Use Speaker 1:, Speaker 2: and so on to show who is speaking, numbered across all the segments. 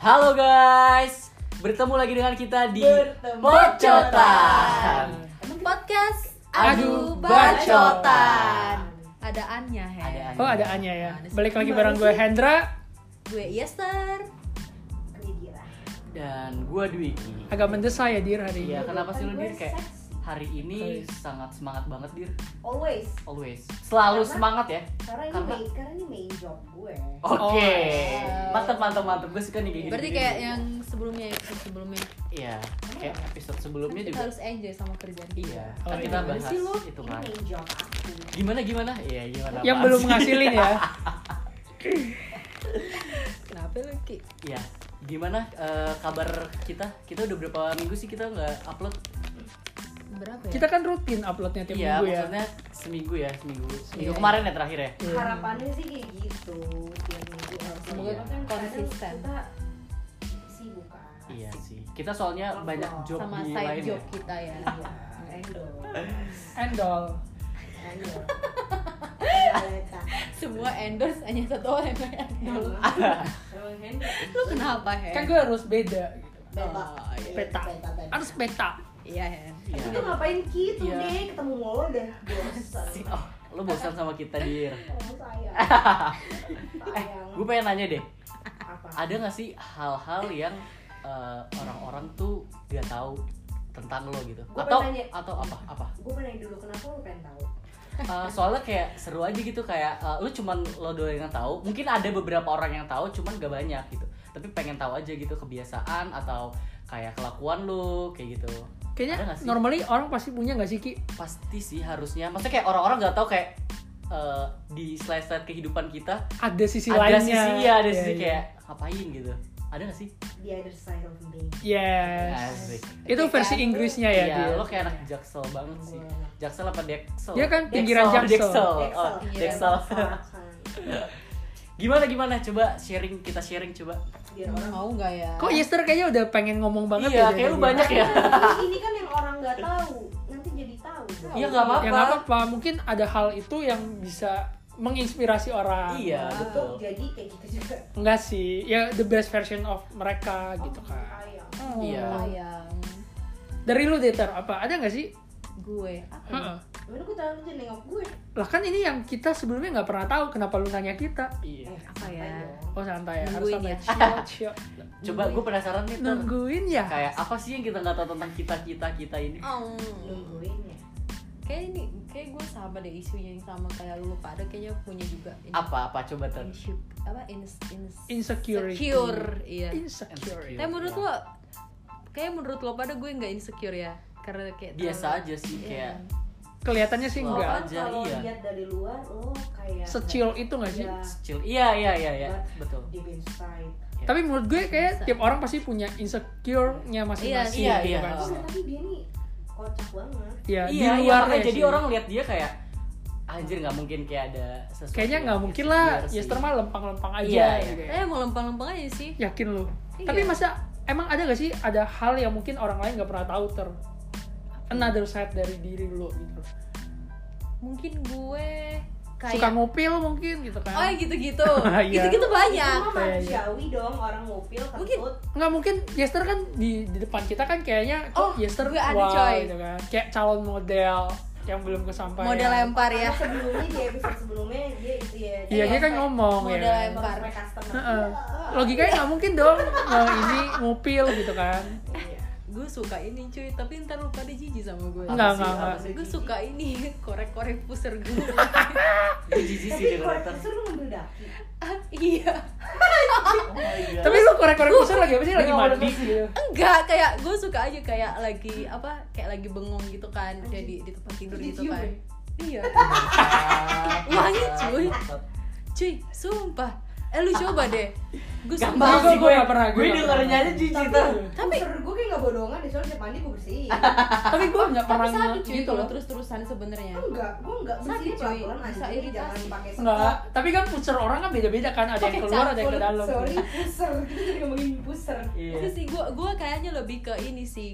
Speaker 1: Halo guys, bertemu lagi dengan kita di
Speaker 2: Bertemu.
Speaker 1: Pocotan.
Speaker 3: podcast
Speaker 4: Adu
Speaker 3: Adu
Speaker 1: Bacotan.
Speaker 3: Bacotan. Ada Annya, Hen.
Speaker 1: Ada Anya.
Speaker 4: Oh ada Anya ya.
Speaker 3: Ada sih.
Speaker 4: Balik lagi bareng gue Hendra.
Speaker 3: Gue iya, Yester.
Speaker 1: Dan gua Dwiki.
Speaker 4: Agak mendesai ya Dir hari ini.
Speaker 1: Iya, kenapa sih lu Dir kayak
Speaker 2: Sexy.
Speaker 1: hari ini
Speaker 4: Always.
Speaker 1: sangat semangat banget Dir,
Speaker 2: Always.
Speaker 1: always. Selalu
Speaker 2: Karena-
Speaker 1: semangat ya.
Speaker 2: Karena ini
Speaker 1: Karena- Oh,
Speaker 2: main, karena ini main job gue.
Speaker 1: Oke.
Speaker 4: Always.
Speaker 1: Mantap mantap mantap. Gue suka nih kayak gini.
Speaker 3: Berarti kayak yang sebelumnya episode sebelumnya.
Speaker 1: Iya, kayak episode
Speaker 3: Kan
Speaker 1: sebelumnya
Speaker 3: kita
Speaker 1: juga.
Speaker 3: harus enjoy sama kerjaan. kita.
Speaker 1: Iya, kan
Speaker 4: Oh,
Speaker 1: kita
Speaker 4: iya.
Speaker 1: bahas
Speaker 3: Sih lu?
Speaker 1: itu
Speaker 2: Ini
Speaker 1: kan.
Speaker 2: main job aku.
Speaker 1: Gimana gimana? Iya, gimana?
Speaker 4: Yang
Speaker 1: apaan
Speaker 4: belum
Speaker 1: sih?
Speaker 4: ngasilin ya.
Speaker 3: Kenapa lu Ki?
Speaker 1: Iya. Gimana eh, kabar kita? Kita udah berapa minggu sih kita nggak upload?
Speaker 3: Berapa ya?
Speaker 4: Kita kan rutin uploadnya tiap
Speaker 1: Iya,
Speaker 4: minggu ya.
Speaker 1: maksudnya seminggu ya, seminggu. Seminggu
Speaker 3: Iya.
Speaker 1: kemarin ya terakhir ya.
Speaker 4: Iya.
Speaker 2: Harapannya sih kayak gitu. Tiap minggu harus
Speaker 3: Semoga
Speaker 2: Karena kan
Speaker 3: konsisten.
Speaker 2: kadang Kita sibuk kan.
Speaker 1: Iya sih. Kita soalnya
Speaker 2: Upload.
Speaker 1: banyak job
Speaker 3: sama
Speaker 1: di
Speaker 3: side
Speaker 1: lain
Speaker 3: job
Speaker 1: ya.
Speaker 3: kita ya.
Speaker 2: Iya, Endol.
Speaker 4: Endol.
Speaker 2: Endol.
Speaker 3: Semua endorse hanya satu orang yang endorse.
Speaker 2: Iya. Emang Endol.
Speaker 3: Lu kenapa, Hen?
Speaker 1: Eh.
Speaker 4: Kan gue harus beda. gitu.
Speaker 2: Beta.
Speaker 3: Oh, iya.
Speaker 4: Peta.
Speaker 2: Beta, beta.
Speaker 4: Harus peta.
Speaker 3: Iya, Hen.
Speaker 1: Iya.
Speaker 2: Kita ngapain gitu
Speaker 1: Iya.
Speaker 2: deh, ketemu lo deh. Bosan.
Speaker 1: Si- Eh, Oh, lu bosan sama kita, Dir.
Speaker 2: Kamu sayang. Sayang.
Speaker 1: Gue pengen nanya deh,
Speaker 2: Apa?
Speaker 1: ada nggak sih hal-hal yang eh, orang-orang tuh gak tahu tentang lo gitu?
Speaker 2: Gua
Speaker 1: atau
Speaker 2: pengen nanya.
Speaker 1: atau apa apa?
Speaker 2: Gue pengen dulu kenapa lo pengen tahu?
Speaker 1: Eh, soalnya kayak seru aja gitu kayak eh, lu cuman lo doang yang tahu. Mungkin ada beberapa orang yang tahu, cuman gak banyak gitu. Tapi pengen tahu aja gitu kebiasaan atau kayak kelakuan lu kayak gitu. Ada
Speaker 4: Kayaknya
Speaker 1: nggak sih?
Speaker 4: normally orang pasti punya nggak sih Ki?
Speaker 1: pasti sih harusnya maksudnya kayak orang-orang nggak tahu kayak eh, di sela-sela kehidupan kita
Speaker 4: Ada sisi
Speaker 1: ada
Speaker 4: lainnya.
Speaker 1: sisi ya ada
Speaker 4: Iya,
Speaker 1: sisi
Speaker 4: iya.
Speaker 1: kayak ngapain gitu ada gak sih
Speaker 2: The other side of me.
Speaker 4: Yes.
Speaker 1: asik
Speaker 4: Itu versi
Speaker 3: Ketika-
Speaker 4: Inggrisnya ya,
Speaker 1: Iya,
Speaker 4: Dir.
Speaker 1: lo kayak anak jaksel banget sih jaksel apa deksel
Speaker 4: Iya kan, pinggiran
Speaker 1: Deksel,
Speaker 4: Jaksel.
Speaker 1: deksel
Speaker 2: Dexel.
Speaker 1: Oh,
Speaker 4: Iya.
Speaker 3: Pinggiran
Speaker 1: deksel gimana gimana coba sharing kita sharing coba
Speaker 2: Biar
Speaker 3: Orang
Speaker 2: orang
Speaker 3: mau nggak ya?
Speaker 4: Kok iya? Yester kayaknya udah pengen ngomong banget
Speaker 1: iya
Speaker 4: ya dari
Speaker 1: kayak lu
Speaker 4: tadi.
Speaker 1: banyak ya
Speaker 2: Nah, ini kan yang orang nggak tahu, nanti jadi tahu.
Speaker 1: Iya, nggak apa-apa.
Speaker 4: Ya nggak apa-apa. Mungkin ada hal itu yang bisa menginspirasi orang.
Speaker 1: iya betul
Speaker 2: Betul. Jadi kayak gitu juga.
Speaker 4: Enggak sih, ya the best version of mereka gitu kan.
Speaker 2: Sayang.
Speaker 3: Oh,
Speaker 1: Iya.
Speaker 3: sayang.
Speaker 4: Dari lu Deter apa? Ada nggak sih?
Speaker 3: Gue apa? ya?
Speaker 4: Heeh.
Speaker 2: Gimana gue terlalu jadi nengok gue?
Speaker 4: Lah kan ini yang kita sebelumnya nggak pernah tahu kenapa lu nanya kita.
Speaker 1: iya
Speaker 2: Eh,
Speaker 3: Apa ya?
Speaker 4: Oh santai ya, harus
Speaker 3: Nungguin
Speaker 4: santai.
Speaker 3: ya.
Speaker 4: Chill, chill.
Speaker 1: coba gue penasaran nih Ter.
Speaker 4: Nungguin ya.
Speaker 1: kayak apa sih yang kita nggak tahu tentang kita kita kita ini
Speaker 3: Oh.
Speaker 2: Nungguin ya.
Speaker 3: kayak ini kayak gue sama deh isunya yang sama kayak lu pada kayaknya punya juga in-
Speaker 1: apa apa coba ter
Speaker 3: insu- apa ins, ins,
Speaker 4: Insecurity.
Speaker 3: secure,
Speaker 1: ya?
Speaker 3: iya
Speaker 4: Insecure.
Speaker 3: tapi
Speaker 1: Iya.
Speaker 3: menurut lo kayak menurut lo pada gue nggak insecure ya karena kayak
Speaker 2: Ah,
Speaker 1: biasa aja sih
Speaker 3: Iya.
Speaker 1: kayak
Speaker 4: Kelihatannya sih
Speaker 1: Wow.
Speaker 4: enggak.
Speaker 2: Orang
Speaker 1: aja,
Speaker 2: kalau
Speaker 1: iya.
Speaker 2: lihat dari luar, lo kayak
Speaker 4: Secil itu nggak sih?
Speaker 2: Iya.
Speaker 1: kecil iya iya iya iya betul
Speaker 2: deep inside.
Speaker 1: Iya.
Speaker 4: Tapi menurut gue kayak
Speaker 3: Bisa.
Speaker 4: tiap orang pasti punya insecure-nya masing-masing.
Speaker 1: Iya,
Speaker 4: gitu
Speaker 1: iya,
Speaker 4: kan.
Speaker 1: iya.
Speaker 2: Oh, tapi dia nih kocak banget.
Speaker 4: Iya,
Speaker 1: iya,
Speaker 4: di
Speaker 1: iya,
Speaker 4: luar
Speaker 1: makanya jadi orang lihat dia kayak anjir nggak mungkin kayak ada sesuatu
Speaker 4: kayaknya
Speaker 1: yang
Speaker 4: nggak mungkin lah
Speaker 1: insecure Iya, sih."
Speaker 4: Yester mah lempang-lempang aja
Speaker 1: Iya, iya.
Speaker 4: gitu ya.
Speaker 3: eh mau lempeng-lempeng aja sih
Speaker 4: yakin lu
Speaker 3: Iya.
Speaker 4: tapi masa emang ada gak sih ada hal yang mungkin orang lain nggak pernah tahu ter another side dari diri lu gitu
Speaker 3: mungkin gue
Speaker 4: suka
Speaker 3: kayak
Speaker 4: ngopil mungkin gitu kan
Speaker 3: oh gitu-gitu
Speaker 4: Iya.
Speaker 3: gitu-gitu banyak
Speaker 2: Itu mah
Speaker 4: Iya, iya.
Speaker 2: manusiawi dong orang ngupil
Speaker 3: Mungkin.
Speaker 2: kentut.
Speaker 4: nggak mungkin Yester kan di, di depan kita kan kayaknya
Speaker 3: Oh,
Speaker 4: kok Yester
Speaker 3: gue ada,
Speaker 4: wow
Speaker 3: coy.
Speaker 4: gitu kan kayak calon model yang belum kesampaian
Speaker 3: model lempar ya
Speaker 2: Karena sebelumnya di episode sebelumnya dia itu ya.
Speaker 4: iya dia
Speaker 3: Model
Speaker 4: kan ngomong
Speaker 3: model
Speaker 4: ya
Speaker 3: lempar.
Speaker 2: Mereka customer.
Speaker 4: Heeh.
Speaker 2: Iya.
Speaker 4: logikanya nggak mungkin dong eh, ini ngopil gitu kan
Speaker 2: Iya.
Speaker 3: gue suka ini cuy tapi ntar lu pada jijik sama gue
Speaker 4: Enggak,
Speaker 3: Apa sih?
Speaker 4: enggak,
Speaker 3: Apa
Speaker 4: enggak.
Speaker 3: sih? gue suka ini korek-korek puser gue
Speaker 1: Gue jijik sih
Speaker 2: Tapi
Speaker 1: dengan
Speaker 2: kalau
Speaker 1: Ter.
Speaker 2: itu lu ngambil daki.
Speaker 3: iya
Speaker 1: Oh my God.
Speaker 4: tapi lu korek-korek pusar lagi apa sih
Speaker 1: Dia
Speaker 4: lagi
Speaker 1: ngomong
Speaker 4: mandi
Speaker 1: terus.
Speaker 4: gitu.
Speaker 3: enggak kayak gue suka aja kayak lagi apa kayak lagi bengong gitu kan kayak di, di tempat tidur
Speaker 2: Terus
Speaker 3: gitu
Speaker 2: dicium
Speaker 3: kan
Speaker 2: ya?
Speaker 3: iya
Speaker 1: Ah,
Speaker 3: wangi cuy
Speaker 1: bangsat.
Speaker 3: cuy sumpah eh lu coba deh gue
Speaker 1: Gak
Speaker 4: Enggak,
Speaker 1: paham
Speaker 3: sumpah
Speaker 4: gue-
Speaker 1: sih
Speaker 4: gue
Speaker 1: gue
Speaker 4: nggak pernah, gue
Speaker 1: Gue
Speaker 4: nggak
Speaker 1: dengernya aja
Speaker 4: pernah.
Speaker 1: jijik Ter.
Speaker 2: Tapi,
Speaker 3: Tapi-
Speaker 2: Puser gue kayak nggak bodongan deh, soalnya tiap mandi gue bersihin
Speaker 4: tapi gue nggak
Speaker 3: tapi
Speaker 4: pernah
Speaker 3: sakit cuy
Speaker 4: gitu
Speaker 3: kalau
Speaker 4: loh
Speaker 3: terus terusan sebenarnya
Speaker 2: Enggak, gue enggak
Speaker 3: Sakit,
Speaker 2: bersihin
Speaker 3: cuy.
Speaker 2: pelan-pelan
Speaker 3: Bisa
Speaker 2: aja Jadi jangan
Speaker 3: iritasi.
Speaker 2: pakai
Speaker 4: Enggak, tapi kan pucer orang kan beda-beda kan, ada yang
Speaker 3: Pakai
Speaker 4: keluar, ada yang ke
Speaker 3: campur,
Speaker 4: dalam.
Speaker 2: Sorry, puser, kita jadi ngomongin puser
Speaker 1: Iya.
Speaker 3: itu sih gue gue kayaknya lebih ke ini sih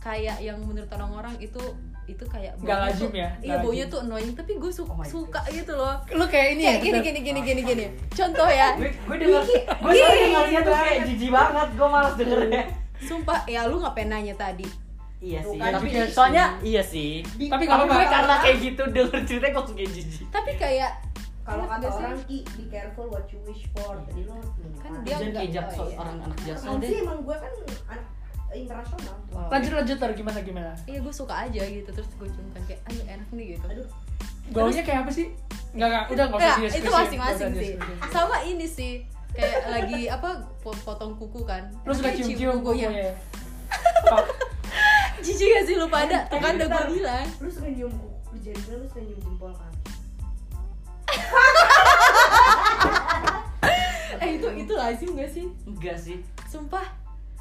Speaker 3: kayak yang menurut orang-orang itu itu kayak
Speaker 4: Nggak
Speaker 3: baunya
Speaker 4: lazim
Speaker 3: tuh-
Speaker 4: ya,
Speaker 3: iya
Speaker 4: nggak
Speaker 3: baunya
Speaker 4: lazim.
Speaker 3: tuh annoying tapi gue su-
Speaker 1: Oh my
Speaker 3: suka gitu loh
Speaker 4: Lu kayak ini
Speaker 3: kayak
Speaker 4: ya?
Speaker 3: gini gini gini gini gini contoh ya
Speaker 1: gue gue denger gue soalnya dengarnya tuh kayak jijik banget gue malas dengernya
Speaker 3: sumpah ya lu ngapain nanya tadi
Speaker 1: iya sih
Speaker 2: Bukan
Speaker 1: tapi
Speaker 2: kan jijik.
Speaker 1: soalnya iya sih
Speaker 4: Tapi
Speaker 2: Di-
Speaker 1: tapi
Speaker 4: kalau
Speaker 1: gue
Speaker 4: nggak-
Speaker 1: karena kayak gitu denger ceritanya gue langsung kayak jijik
Speaker 3: tapi kayak
Speaker 2: kalau kata
Speaker 3: Nggak sih?
Speaker 2: orang ki be careful what you wish for jadi lo
Speaker 3: Kan
Speaker 2: kan
Speaker 3: dia
Speaker 1: jangan
Speaker 3: nggak-
Speaker 1: kayak jaksel
Speaker 3: oh, iya.
Speaker 1: orang anak jaksel
Speaker 2: sih
Speaker 1: deh
Speaker 2: emang gue kan anak internasional
Speaker 4: Lanjut lanjut tar gimana gimana?
Speaker 3: iya gue suka aja gitu terus gue ciumkan kayak aduh enak nih gitu
Speaker 2: aduh
Speaker 4: Gaulnya kayak apa sih? Enggak enggak, udah enggak usah
Speaker 3: Nggak, itu
Speaker 4: di-description,
Speaker 3: masing-masing
Speaker 4: nggak usah
Speaker 3: sih
Speaker 4: di-description.
Speaker 3: sama ini sih kayak lagi apa po- potong kuku kan
Speaker 4: Lu suka
Speaker 3: Kayak
Speaker 4: cium-cium
Speaker 3: kuku, iya.
Speaker 4: kukunya.
Speaker 3: jijik gak sih lu pada tuh kan udah gue
Speaker 4: gitu.
Speaker 2: Bentar,
Speaker 3: bilang
Speaker 2: lu suka nyium kuku jadi lu suka nyium jempol kan
Speaker 3: eh itu itu lazim gak sih
Speaker 1: enggak sih
Speaker 3: sumpah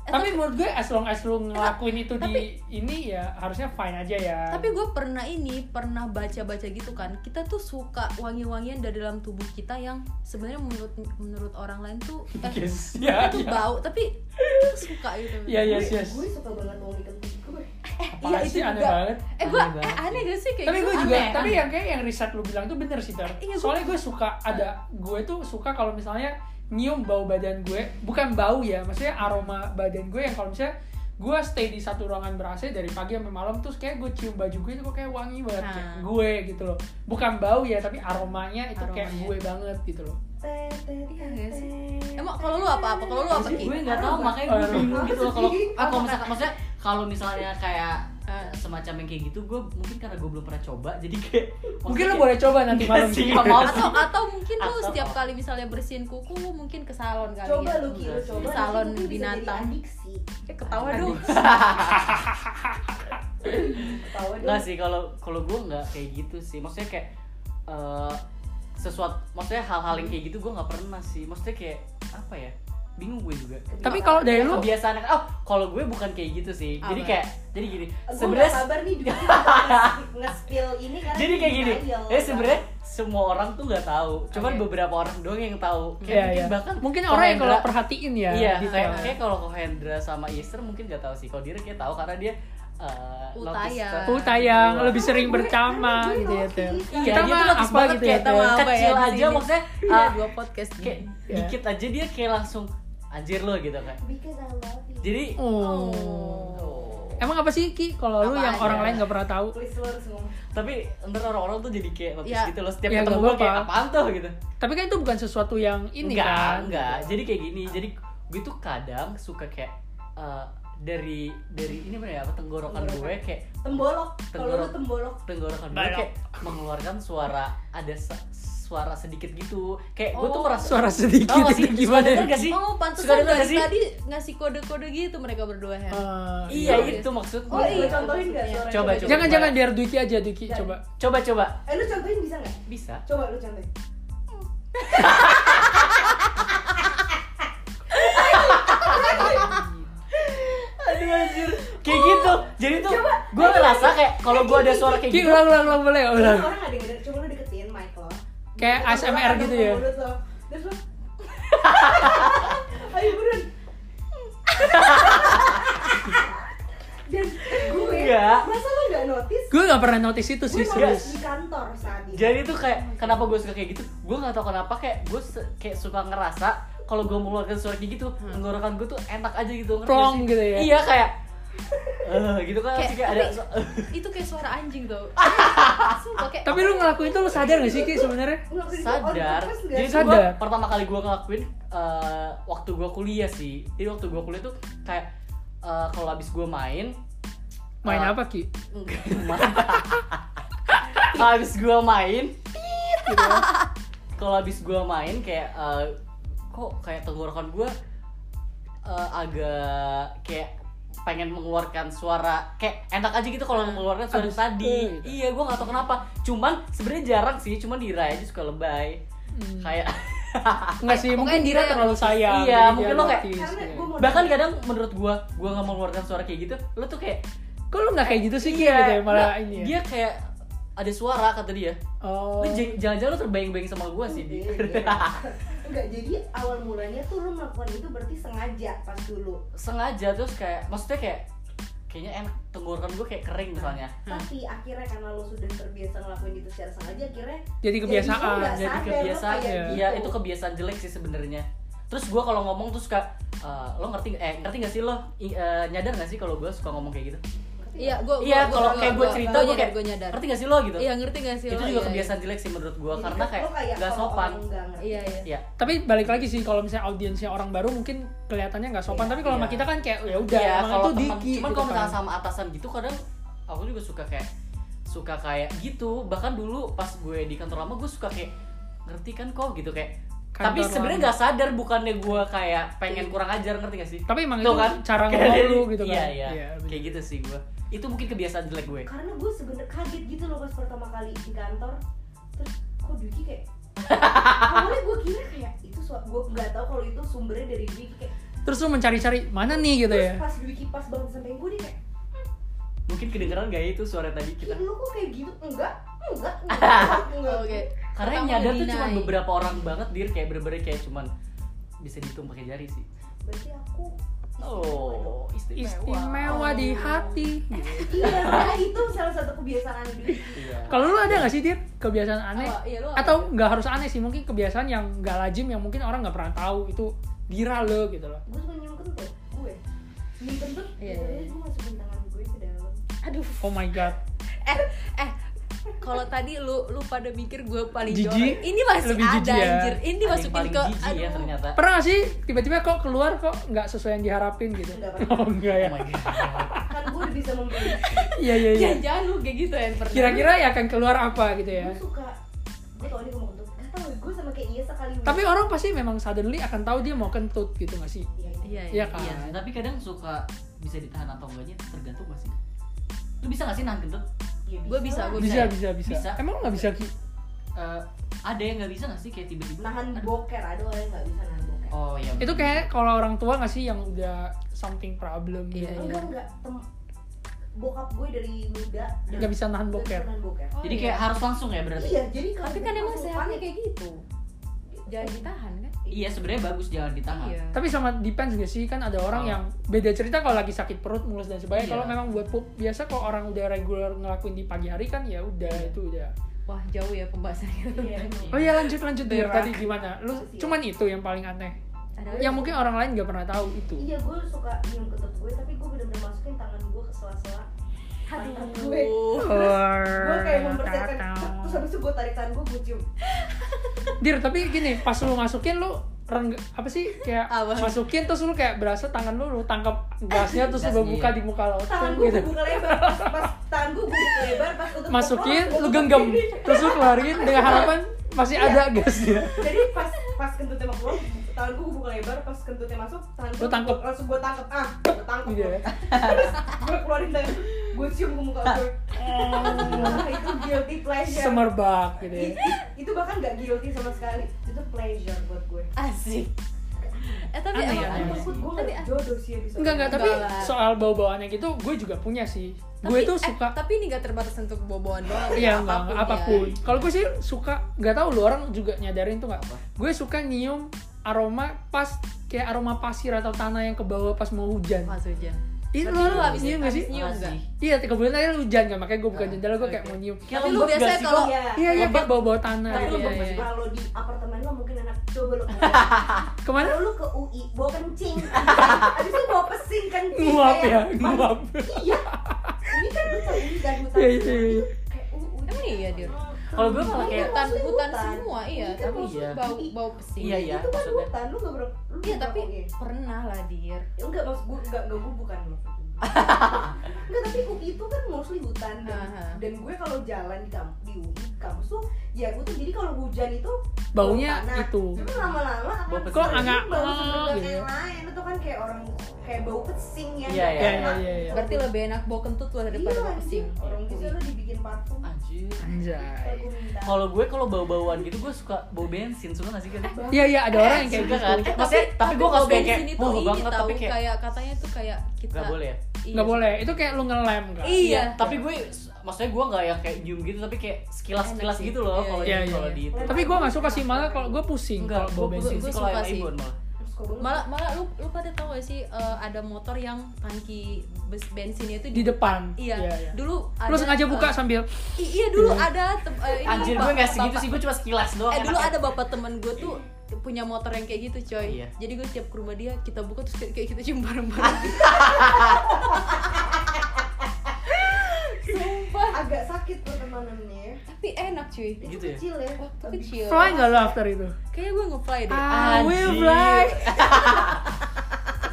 Speaker 3: Eh,
Speaker 4: Tapi menurut gue as long as lu ngelakuin itu di ini ya harusnya fine aja ya.
Speaker 3: tapi gue pernah ini pernah baca-baca gitu kan kita tuh suka wangi-wangian dari dalam tubuh kita yang sebenarnya menurut menurut orang lain tuh eh
Speaker 4: Yes,
Speaker 3: itu
Speaker 4: ya,
Speaker 3: tuh
Speaker 4: ya.
Speaker 3: bau tapi kita suka gitu
Speaker 4: Iya,
Speaker 3: iya
Speaker 4: yes, yes.
Speaker 2: gue suka banget wangi kentut gue
Speaker 4: Apaan
Speaker 3: itu
Speaker 4: sih aneh
Speaker 3: juga.
Speaker 4: banget.
Speaker 3: eh gue
Speaker 1: Aneh banget
Speaker 3: eh, aneh gak sih kayak
Speaker 4: tapi
Speaker 3: gitu?
Speaker 4: gue juga
Speaker 3: Aneh,
Speaker 4: tapi
Speaker 1: ya-
Speaker 3: aneh.
Speaker 4: yang kayak yang riset lu bilang tuh bener sih ter
Speaker 3: Iya, gua-
Speaker 4: soalnya gue suka ada gue tuh suka kalau misalnya nyium bau badan gue bukan bau ya maksudnya aroma badan gue yang kalau misalnya gue stay di satu ruangan ber AC dari pagi sampai malam terus kayak gue cium baju gue itu kok kayak wangi banget
Speaker 3: Nah.
Speaker 4: kayak gue gitu loh bukan bau ya tapi aromanya itu kayak
Speaker 3: Aromanya.
Speaker 4: gue banget gitu loh
Speaker 3: Iya nggak sih? emang kalau lu apa apa kalau lu apa ki
Speaker 1: gue nggak tahu makanya gue
Speaker 4: Aduh.
Speaker 1: bingung gitu loh kalau
Speaker 2: Aduh.
Speaker 1: ah, kalau misalkan maksudnya kalau misalnya kayak
Speaker 3: Ah.
Speaker 1: semacam yang kayak gitu gue mungkin karena gue belum pernah coba jadi kayak
Speaker 4: mungkin
Speaker 3: iya.
Speaker 4: lo boleh coba nanti malam
Speaker 1: sih
Speaker 4: Ki.
Speaker 1: nggak mau
Speaker 3: atau atau mungkin lu
Speaker 1: Atau-
Speaker 3: setiap kali misalnya bersihin kuku lu mungkin ke salon kali
Speaker 2: coba
Speaker 3: ya
Speaker 2: lu ki lu coba
Speaker 3: Salon
Speaker 2: Nanti lu bisa jadi
Speaker 3: binatang.
Speaker 2: adiksi
Speaker 3: eh, ketawa dong
Speaker 2: ketawa
Speaker 1: Enggak
Speaker 2: dong
Speaker 1: sih kalau kalau gue nggak kayak gitu sih. Maksudnya kayak eh, sesuatu maksudnya hal-hal yang kayak gitu gue nggak pernah sih. Maksudnya kayak apa ya? Bingung gue juga.
Speaker 4: tapi kalau dari Ya lu
Speaker 3: Iya,
Speaker 1: Kebiasaan oh kalau gue bukan kayak gitu sih. Jadi
Speaker 3: Apa?
Speaker 1: kayak jadi gini.
Speaker 2: gue nggak
Speaker 1: Sebenarnya
Speaker 2: sabar nih juga nge- nge-spill ini kan, karena
Speaker 1: jadi kayak gini.
Speaker 4: Iya,
Speaker 2: trial.
Speaker 1: Eh sebenarnya semua orang tuh nggak tahu. Cuman
Speaker 3: Oke.
Speaker 1: beberapa orang doang yang tahu. Kayak
Speaker 4: Iya,
Speaker 1: mungkin
Speaker 4: iya.
Speaker 1: bahkan
Speaker 4: mungkin orang yang kalau
Speaker 1: Kohendra-
Speaker 4: perhatiin ya
Speaker 1: Iya,
Speaker 4: detail.
Speaker 1: kayak, kayak kalau Kohendra sama Easter mungkin nggak tahu sih. Kalau dia kayak tahu karena dia eh, notice
Speaker 3: Utaya.
Speaker 1: ke-
Speaker 4: Oh, tayang
Speaker 1: kedua.
Speaker 4: lebih sering
Speaker 2: Karena gue-
Speaker 4: bersama
Speaker 2: karena gue
Speaker 4: gitu ya
Speaker 2: notice
Speaker 4: Ter.
Speaker 2: kan.
Speaker 1: Iya,
Speaker 4: Kita
Speaker 1: dia
Speaker 4: mah
Speaker 1: tuh notice
Speaker 4: apa
Speaker 1: banget
Speaker 4: gitu
Speaker 1: kayak
Speaker 4: ya
Speaker 3: kita
Speaker 4: Ter.
Speaker 3: mah apa ya
Speaker 1: Kecil
Speaker 3: di
Speaker 1: aja,
Speaker 3: sini?
Speaker 1: maksudnya,
Speaker 3: Iya,
Speaker 1: ah,
Speaker 3: dua podcast
Speaker 1: kayak
Speaker 3: gini.
Speaker 4: Iya.
Speaker 1: dikit aja dia kayak langsung anjir lo gitu kan
Speaker 2: because I love you
Speaker 1: jadi
Speaker 4: Oh.
Speaker 1: oh.
Speaker 4: Emang apa sih Ki kalau lu
Speaker 3: Apa
Speaker 4: yang
Speaker 3: aja?
Speaker 4: orang lain gak pernah tahu?
Speaker 2: please lu harus ngomong
Speaker 1: tapi ntar orang-orang tuh jadi kayak notice
Speaker 3: Iya.
Speaker 1: gitu loh setiap
Speaker 4: Iya,
Speaker 1: ketemu
Speaker 4: nggak
Speaker 1: gue kayak
Speaker 4: apa-apa.
Speaker 1: apaan tuh gitu
Speaker 4: Tapi kan itu bukan sesuatu yang ini
Speaker 1: enggak
Speaker 4: kan.
Speaker 1: enggak jadi kayak gini jadi gue tuh kadang suka kayak eh, dari dari ini mana ya apa, tenggorokan gue
Speaker 2: Tenggorokan.
Speaker 1: kayak
Speaker 2: tembolok kalau lu
Speaker 1: Tembolok.
Speaker 2: tembolok
Speaker 1: tenggorokan gue
Speaker 4: Balok.
Speaker 1: kayak mengeluarkan suara ada se- suara sedikit gitu kayak gue tuh
Speaker 3: Oh.
Speaker 1: merasa
Speaker 4: Suara sedikit
Speaker 1: Tau nggak sih?
Speaker 4: itu
Speaker 1: Suka
Speaker 4: gimana? ya?
Speaker 1: denger nggak sih?
Speaker 3: oh
Speaker 1: Suka
Speaker 3: pantesan
Speaker 1: denger nggak
Speaker 3: dari
Speaker 1: sih?
Speaker 3: tadi ngasih kode-kode gitu mereka berdua ya
Speaker 4: Ah,
Speaker 1: Iya
Speaker 3: Iya.
Speaker 1: itu maksud gue.
Speaker 2: oh iya contohin nggak
Speaker 3: Iya.
Speaker 2: suara
Speaker 1: Coba,
Speaker 2: itu?
Speaker 1: coba.
Speaker 4: Jangan-jangan biar Dwiki aja Dwiki
Speaker 2: Jangan.
Speaker 4: coba.
Speaker 1: Coba coba
Speaker 2: eh lu contohin bisa nggak
Speaker 1: bisa.
Speaker 2: coba lu contohin
Speaker 1: Aduh anjir. Kayak
Speaker 3: Oh.
Speaker 1: gitu. Jadi tuh gue ngerasa kayak kalau gue ada suara kayak
Speaker 4: Ki
Speaker 1: gitu.
Speaker 4: ulang ulang ulang boleh ya, ulang.
Speaker 2: Terus orang nggak denger coba lu deketin mic lo
Speaker 4: Kayak
Speaker 2: Terus lu
Speaker 4: ASMR
Speaker 2: akan
Speaker 4: gitu ya.
Speaker 2: mulut lo. terus lu ayo buruan dan gue
Speaker 1: Nggak.
Speaker 2: masa lu nggak notice
Speaker 4: Gue gak pernah notice itu
Speaker 2: gue
Speaker 4: sih
Speaker 2: notice
Speaker 4: serius.
Speaker 2: di kantor saat itu
Speaker 1: Jadi tuh kayak kenapa gue suka kayak gitu? Gue nggak tahu kenapa kayak gue se- kayak suka ngerasa kalau gue mengeluarkan suara kayak gitu,
Speaker 3: Hmm.
Speaker 1: tenggorokan gue tuh enak aja gitu. ngerti nggak
Speaker 4: Plong
Speaker 1: sih?
Speaker 4: gitu ya.
Speaker 1: Iya kayak eh gitu kan
Speaker 3: Kayak-
Speaker 1: kayak, kayak ada
Speaker 3: tapi-
Speaker 1: su-
Speaker 3: itu kayak suara anjing tuh Sumpah, kayak
Speaker 4: Tapi lu ngelakuin itu lu sadar gak sih Ki sebenarnya?
Speaker 2: Lu ngelakuin itu on
Speaker 1: sadar.
Speaker 2: purpose nggak?
Speaker 1: Jadi
Speaker 4: Sadar.
Speaker 1: sadar. pertama kali gue ngelakuin eh, waktu gue kuliah sih. Jadi waktu gue kuliah tuh kayak eh, kalau abis gue main
Speaker 4: Main
Speaker 1: eh,
Speaker 4: apa Ki?
Speaker 1: Enggak, habis gua main gitu.
Speaker 4: ya.
Speaker 1: kalau habis gua main kayak eh, kok kayak tenggorokan gua eh, agak kayak pengen mengeluarkan suara kayak enak aja gitu kalau mengeluarkan suara
Speaker 4: Aduh,
Speaker 1: tadi
Speaker 4: gitu.
Speaker 1: iya gua nggak tau kenapa cuman sebenarnya jarang sih cuman di Rai aja suka lebay kayak
Speaker 4: Enggak Hmm. sih,
Speaker 3: Pokoknya
Speaker 4: mungkin
Speaker 3: dia
Speaker 4: dia
Speaker 3: yang-
Speaker 4: terlalu sayang. gitu ya,
Speaker 1: Iya,
Speaker 4: jadi dia
Speaker 1: mungkin lo kayak-
Speaker 4: notice,
Speaker 2: karena
Speaker 4: iya.
Speaker 2: gue mau
Speaker 1: bahkan kadang menurut gua gua nggak mengeluarkan suara kayak gitu lo tuh kayak iya,
Speaker 4: Kok lu gak kayak gitu sih Ki gitu ya malah
Speaker 1: nggak,
Speaker 4: ini ya?
Speaker 1: dia kayak ada suara kata dia
Speaker 4: Oh. Iya,
Speaker 1: Lu j- jangan-jangan lu terbayang-bayang sama gua sih di.
Speaker 2: Enggak, jadi awal mulanya tuh lu melakukan itu berarti sengaja pas dulu
Speaker 1: Sengaja terus kayak maksudnya kayak kayaknya enak tenggorokan gue kayak kering misalnya
Speaker 2: Nah, tapi akhirnya karena lo sudah terbiasa ngelakuin itu secara sengaja akhirnya
Speaker 4: Jadi kebiasaan,
Speaker 1: jadi kebiasaan
Speaker 3: gitu.
Speaker 1: iya itu kebiasaan jelek sih sebenarnya terus gue kalau ngomong tuh suka eh, lo ngerti eh ngerti gak sih lo I- eh, nyadar gak sih kalau gue suka ngomong kayak gitu
Speaker 3: Iya, gue
Speaker 1: iya kalau kayak gue cerita gue kayak
Speaker 3: gue nyadar.
Speaker 1: ngerti gak sih lo gitu
Speaker 3: Iya, ngerti gak sih?
Speaker 1: itu
Speaker 3: lo?
Speaker 1: juga
Speaker 3: Iya, kan
Speaker 1: kebiasaan jelek sih menurut gue karena kayak gak sopan
Speaker 3: Iya, iya.
Speaker 1: iya
Speaker 4: tapi balik lagi sih kalau misalnya audiensnya orang baru mungkin kelihatannya nggak sopan tapi kalau sama
Speaker 1: Iya.
Speaker 4: kita kan kayak ya udah
Speaker 1: Iya,
Speaker 4: emang
Speaker 1: kalau
Speaker 4: itu
Speaker 1: teman
Speaker 4: Diki
Speaker 1: cuman
Speaker 4: gitu
Speaker 1: kalau
Speaker 4: kan.
Speaker 1: misalnya sama atasan gitu kadang aku juga suka kayak suka kayak gitu bahkan dulu pas gue di kantor lama gue suka kayak ngerti kan kok gitu kayak
Speaker 4: Kantor
Speaker 1: tapi sebenarnya
Speaker 4: lama.
Speaker 1: nggak sadar bukannya gue kayak pengen kurang ajar ngerti gak sih
Speaker 4: tapi emang
Speaker 1: Tuh
Speaker 4: itu
Speaker 1: kan?
Speaker 4: cara
Speaker 1: Kayak
Speaker 4: ngomong
Speaker 1: dari-
Speaker 4: lu gitu kan
Speaker 1: iya iya
Speaker 4: bener.
Speaker 1: kayak gitu sih gue itu mungkin kebiasaan jelek gue
Speaker 2: karena gue sebenernya kaget gitu loh pas pertama kali di kantor terus kok Dwiki kayak awalnya gue kira kayak itu gue nggak tahu kalau itu sumbernya dari Dwiki kayak
Speaker 4: terus lu mencari-cari mana nih gitu
Speaker 2: terus
Speaker 4: ya
Speaker 2: pas Dwiki pas banget sampai gue dia kayak
Speaker 1: mungkin kedengeran gak ya itu suara tadi kita
Speaker 2: "Ih,
Speaker 4: Iya.
Speaker 2: lu kok kayak gitu enggak enggak enggak enggak
Speaker 3: Oh, Oke.
Speaker 1: karena yang
Speaker 3: Pertama
Speaker 1: nyadar tuh
Speaker 3: dinai.
Speaker 1: cuma beberapa orang banget dir kayak bener-bener kayak cuman bisa dihitung pakai jari sih
Speaker 2: berarti aku
Speaker 1: oh istimewa,
Speaker 4: istimewa di hati
Speaker 2: iya karena itu salah satu kebiasaan Dwiki
Speaker 1: Iya.
Speaker 4: kalau lu ada nggak sih dia kebiasaan aneh
Speaker 3: Apa? Iya, lu apa?
Speaker 4: atau nggak harus aneh sih mungkin kebiasaan yang nggak lazim yang mungkin orang nggak pernah tahu itu dira lo gitu loh
Speaker 2: gue suka nyium kentut gue nyium kentut
Speaker 3: Iya,
Speaker 2: biasanya
Speaker 3: iya.
Speaker 2: gue masukin tangan gue ke dalam
Speaker 3: Aduh.
Speaker 4: oh my god
Speaker 3: Eh, eh. Kalau tadi lu lu pada mikir gue paling
Speaker 4: Jijik.
Speaker 3: jorok. Ini masih
Speaker 4: Lebih
Speaker 3: ada
Speaker 4: jijik
Speaker 3: anjir.
Speaker 4: ya.
Speaker 3: Ini
Speaker 1: Ada yang
Speaker 3: dimasukin
Speaker 1: paling
Speaker 3: ke
Speaker 1: jijik ya ternyata
Speaker 4: pernah nggak sih tiba-tiba kok keluar kok nggak sesuai yang diharapin gitu
Speaker 2: Nggak
Speaker 4: oh enggak ya
Speaker 1: Oh my god.
Speaker 2: kan gue udah bisa membeli
Speaker 4: iya iya iya
Speaker 3: Jangan-jangan lu kayak gitu ya pernah.
Speaker 4: kira-kira ya akan keluar apa gitu
Speaker 3: Iya.
Speaker 4: ya
Speaker 2: gue suka gue tau dia mau kentut gak tau gue sama kayak iya sekali
Speaker 4: tapi orang pasti memang suddenly akan tahu dia mau kentut gitu nggak sih
Speaker 2: iya iya.
Speaker 3: Iya,
Speaker 4: Iya kan?
Speaker 3: iya.
Speaker 1: Nah, tapi kadang suka bisa ditahan atau enggaknya itu tergantung gak sih? Lu bisa gak sih nahan kentut?
Speaker 2: Iya,
Speaker 3: Gue bisa,
Speaker 2: lah.
Speaker 3: gue
Speaker 4: bisa
Speaker 3: bisa.
Speaker 4: bisa bisa,
Speaker 1: Bisa.
Speaker 4: emang nggak bisa ki
Speaker 1: Eh, ada yang gak bisa gak sih kayak tiba-tiba
Speaker 2: nahan
Speaker 1: Aduh.
Speaker 2: boker ada orang yang gak bisa nahan boker
Speaker 1: Oh iya.
Speaker 4: itu kayak kalau orang tua nggak sih yang udah something problem
Speaker 3: Iya,
Speaker 4: gitu
Speaker 2: enggak enggak tem bokap gue dari muda dari-
Speaker 4: nggak bisa nahan
Speaker 2: nggak
Speaker 4: boker
Speaker 2: nahan boker
Speaker 3: Oh,
Speaker 1: Jadi
Speaker 3: iya.
Speaker 1: kayak harus langsung ya berarti.
Speaker 2: iya jadi kalau
Speaker 3: tapi kan
Speaker 2: dia
Speaker 3: emang
Speaker 2: langsung
Speaker 3: sehatnya
Speaker 2: panik.
Speaker 3: kayak gitu. Jangan ditahan kan?
Speaker 1: Iya, sebenarnya bagus jangan ditahan.
Speaker 3: Iya.
Speaker 4: tapi sama depends gak sih kan ada orang
Speaker 1: Oh.
Speaker 4: yang beda cerita kalau lagi sakit perut mulus dan sebagainya
Speaker 1: Iya.
Speaker 4: kalau memang buat pup biasa kalau orang udah regular ngelakuin di pagi hari kan ya udah itu udah
Speaker 3: Wah, jauh ya pembahasannya.
Speaker 2: Iya.
Speaker 4: oh iya lanjut lanjut Dir.
Speaker 3: Berak.
Speaker 4: tadi gimana lu cuman itu yang paling aneh
Speaker 3: Ada
Speaker 4: yang Ya, mungkin orang lain nggak pernah tahu itu
Speaker 2: iya gue suka nyium kentut gue tapi gue bener-bener masukin tangan gue ke sela-sela pantat gue gue kayak mempersiapkan terus habis itu gue tarik tangan gue gue cium
Speaker 4: Dir, tapi gini, pas lu masukin lu reng apa sih kayak
Speaker 3: Apa?
Speaker 4: masukin terus lu kayak berasa tangan lu lu tangkap gasnya terus lu
Speaker 1: Gasnya,
Speaker 4: buka
Speaker 1: iya.
Speaker 4: di muka
Speaker 2: tangan
Speaker 4: lautan
Speaker 2: gue
Speaker 4: gitu.
Speaker 2: gue buka lebar pas, pas tangan gue gue buka lebar pas untuk
Speaker 4: Masukin,
Speaker 2: gue
Speaker 4: lu
Speaker 2: tutup
Speaker 4: genggam,
Speaker 2: gini.
Speaker 4: terus lu keluarin dengan harapan masih
Speaker 3: Iya.
Speaker 4: ada gasnya.
Speaker 2: jadi pas pas kentutnya mau keluar tangan gue gue buka lebar pas kentutnya masuk tangan
Speaker 4: Lu tangkep.
Speaker 2: gua- langsung gue tangkep ah gue tangkep
Speaker 4: Gitu ya.
Speaker 3: Iya.
Speaker 2: gue keluarin tangan gue cium ke muka gue Wah, itu guilty pleasure
Speaker 4: Semerbak gitu ya.
Speaker 2: I-
Speaker 3: Iya.
Speaker 2: i- itu bahkan gak guilty sama sekali itu pleasure buat gue
Speaker 3: asik. Eh tapi
Speaker 4: Aneh, ya?
Speaker 3: emang aneh
Speaker 4: aneh.
Speaker 2: takut
Speaker 3: sih.
Speaker 2: gue
Speaker 3: Tapi ah.
Speaker 2: gak jodoh sih abis itu.
Speaker 4: Enggak enggak, Iya. tapi
Speaker 3: Enggak lah.
Speaker 4: soal bau-bauannya gitu gue juga punya sih. Gue
Speaker 3: tapi-
Speaker 4: tuh
Speaker 3: eh,
Speaker 4: suka
Speaker 3: tapi ini gak terbatas untuk boboan doang.
Speaker 4: Iya,
Speaker 3: ya,
Speaker 4: enggak, apapun.
Speaker 3: ya.
Speaker 4: Kalau gue sih suka, nggak tahu lu orang juga nyadarin tuh nggak.
Speaker 1: Apa?
Speaker 4: Gue suka nyium aroma pas kayak aroma pasir atau tanah yang ke bawah pas mau hujan.
Speaker 3: Mas hujan.
Speaker 4: Ih,
Speaker 3: Berarti lu abis
Speaker 4: nyium nggak sih?
Speaker 3: abis nyium
Speaker 1: Makasih.
Speaker 3: nggak?
Speaker 4: Iya, kebetulan aja hujan kan, makanya gue buka
Speaker 3: Ah,
Speaker 4: jendela gue kayak
Speaker 3: oke.
Speaker 4: mau nyium.
Speaker 1: Kayak
Speaker 3: Tapi lu
Speaker 1: lembab gak
Speaker 3: biasanya
Speaker 1: sih, kok?
Speaker 3: kalau-
Speaker 2: Iya.
Speaker 4: Iya, iya,
Speaker 1: Lembab.
Speaker 4: kayak bau-bau tanah
Speaker 2: Tapi
Speaker 4: gitu.
Speaker 2: lu
Speaker 3: Iya, iya.
Speaker 2: kalau di apartemen lo mungkin enak coba lo
Speaker 4: Kemana?
Speaker 2: Kalau lu ke UI bawa kencing, abis itu bawa pesing kencing
Speaker 4: Nguap ya,
Speaker 2: kayak,
Speaker 4: nguap.
Speaker 2: Iya, ini kan lu tahu ini dan hutan.
Speaker 4: Iya, iya, iya.
Speaker 2: Kayak UI.
Speaker 3: Emang iya, Dir?
Speaker 1: Kalau gue malah
Speaker 2: Iya,
Speaker 1: kayak
Speaker 3: Hutan,
Speaker 2: maksudnya
Speaker 3: hutan
Speaker 2: hutan.
Speaker 3: semua, iya.
Speaker 2: Iya,
Speaker 3: Tapi
Speaker 1: maksudnya
Speaker 3: bau
Speaker 2: iya.
Speaker 3: bau pesing.
Speaker 1: Iya, iya.
Speaker 2: Itu kan
Speaker 1: maksudnya.
Speaker 2: hutan, lu gak berapa? Lu
Speaker 3: Iya,
Speaker 2: nggak
Speaker 3: tapi
Speaker 2: UI.
Speaker 3: pernah lah, Dir.
Speaker 2: Ya, enggak maksud gue enggak enggak gue bukan lo. Enggak, tapi UI itu kan mostly hutan dan,
Speaker 3: Aha.
Speaker 2: dan gue kalau jalan di kamp di UI di kampus tuh ya gue tuh jadi kalau hujan itu
Speaker 4: Baunya
Speaker 2: bau tanah.
Speaker 4: itu.
Speaker 2: Tapi lama-lama
Speaker 1: Bau
Speaker 2: akan
Speaker 1: pesing.
Speaker 4: Kok agak
Speaker 2: bau
Speaker 4: oh,
Speaker 2: sebenarnya
Speaker 4: gitu.
Speaker 2: kayak lain itu kan kayak orang kayak bau pesing yang
Speaker 1: Iya,
Speaker 2: nggak
Speaker 1: iya,
Speaker 4: Iya,
Speaker 2: enak.
Speaker 4: iya, iya.
Speaker 3: Berarti lebih enak bau kentut lah daripada
Speaker 2: Iya,
Speaker 3: bau pesing.
Speaker 2: anjing. Orang bisa lo dibikin parfum.
Speaker 1: Anjir.
Speaker 4: Anjay.
Speaker 2: Aku minta.
Speaker 1: Kalau gue kalau bau-bauan gitu gue suka bau bensin, suka gak sih kan?
Speaker 4: Iya, iya, ada orang yang kayak
Speaker 1: Suka
Speaker 4: gitu.
Speaker 1: kan? Maksudnya, tapi gue gak
Speaker 3: kalau
Speaker 1: suka yang
Speaker 3: Eh, bensin
Speaker 1: kayak,
Speaker 3: itu
Speaker 1: wah
Speaker 3: ini
Speaker 1: banget,
Speaker 3: tahu,
Speaker 1: tapi kayak
Speaker 3: kayak katanya tuh kayak kita
Speaker 1: gak boleh ya?
Speaker 3: Iya.
Speaker 4: Nggak boleh, itu kayak lu ngelem kan?
Speaker 3: Iya.
Speaker 1: Tapi gue, maksudnya gue nggak yang kayak nyium gitu, tapi kayak sekilas-sekilas
Speaker 3: Enak sih.
Speaker 1: gitu loh
Speaker 3: Iya,
Speaker 1: kalau
Speaker 4: iya,
Speaker 1: di
Speaker 4: iya.
Speaker 1: kalau di itu.
Speaker 4: Tapi gue gak suka sih, malah kalau gue pusing
Speaker 1: Enggak,
Speaker 4: kalau
Speaker 1: gue
Speaker 4: bau
Speaker 1: pusing sih
Speaker 4: bensin.
Speaker 3: Gue
Speaker 1: kalau
Speaker 3: suka
Speaker 1: yang
Speaker 3: sih.
Speaker 1: Ibon malah.
Speaker 2: suka banget
Speaker 3: malah malah lu lu pada tahu gak sih eh, ada motor yang tangki bes- bensinnya itu
Speaker 4: di depan.
Speaker 3: iya dulu
Speaker 4: Lu sengaja buka
Speaker 3: eh,
Speaker 4: sambil
Speaker 3: i- iya dulu ada tem- eh, ini
Speaker 1: Anjir gue
Speaker 3: bapak-
Speaker 1: gak segitu
Speaker 3: bapak-
Speaker 1: sih, gue cuma sekilas doang ya.
Speaker 3: eh dulu
Speaker 1: enaknya.
Speaker 3: ada bapak temen gue tuh punya motor yang kayak gitu coy
Speaker 1: Iya.
Speaker 3: jadi gue tiap ke rumah dia kita buka terus kayak- kayak kita cium bareng bareng sumpah
Speaker 2: agak sakit pertemanannya
Speaker 3: tapi enak cuy
Speaker 2: itu
Speaker 1: Gitu ya?
Speaker 2: kecil ya
Speaker 3: waktu
Speaker 2: Abis-
Speaker 3: kecil
Speaker 4: fly nggak lo after itu?
Speaker 3: kayaknya gue nge-fly deh
Speaker 4: I will
Speaker 1: Anjir.
Speaker 4: fly.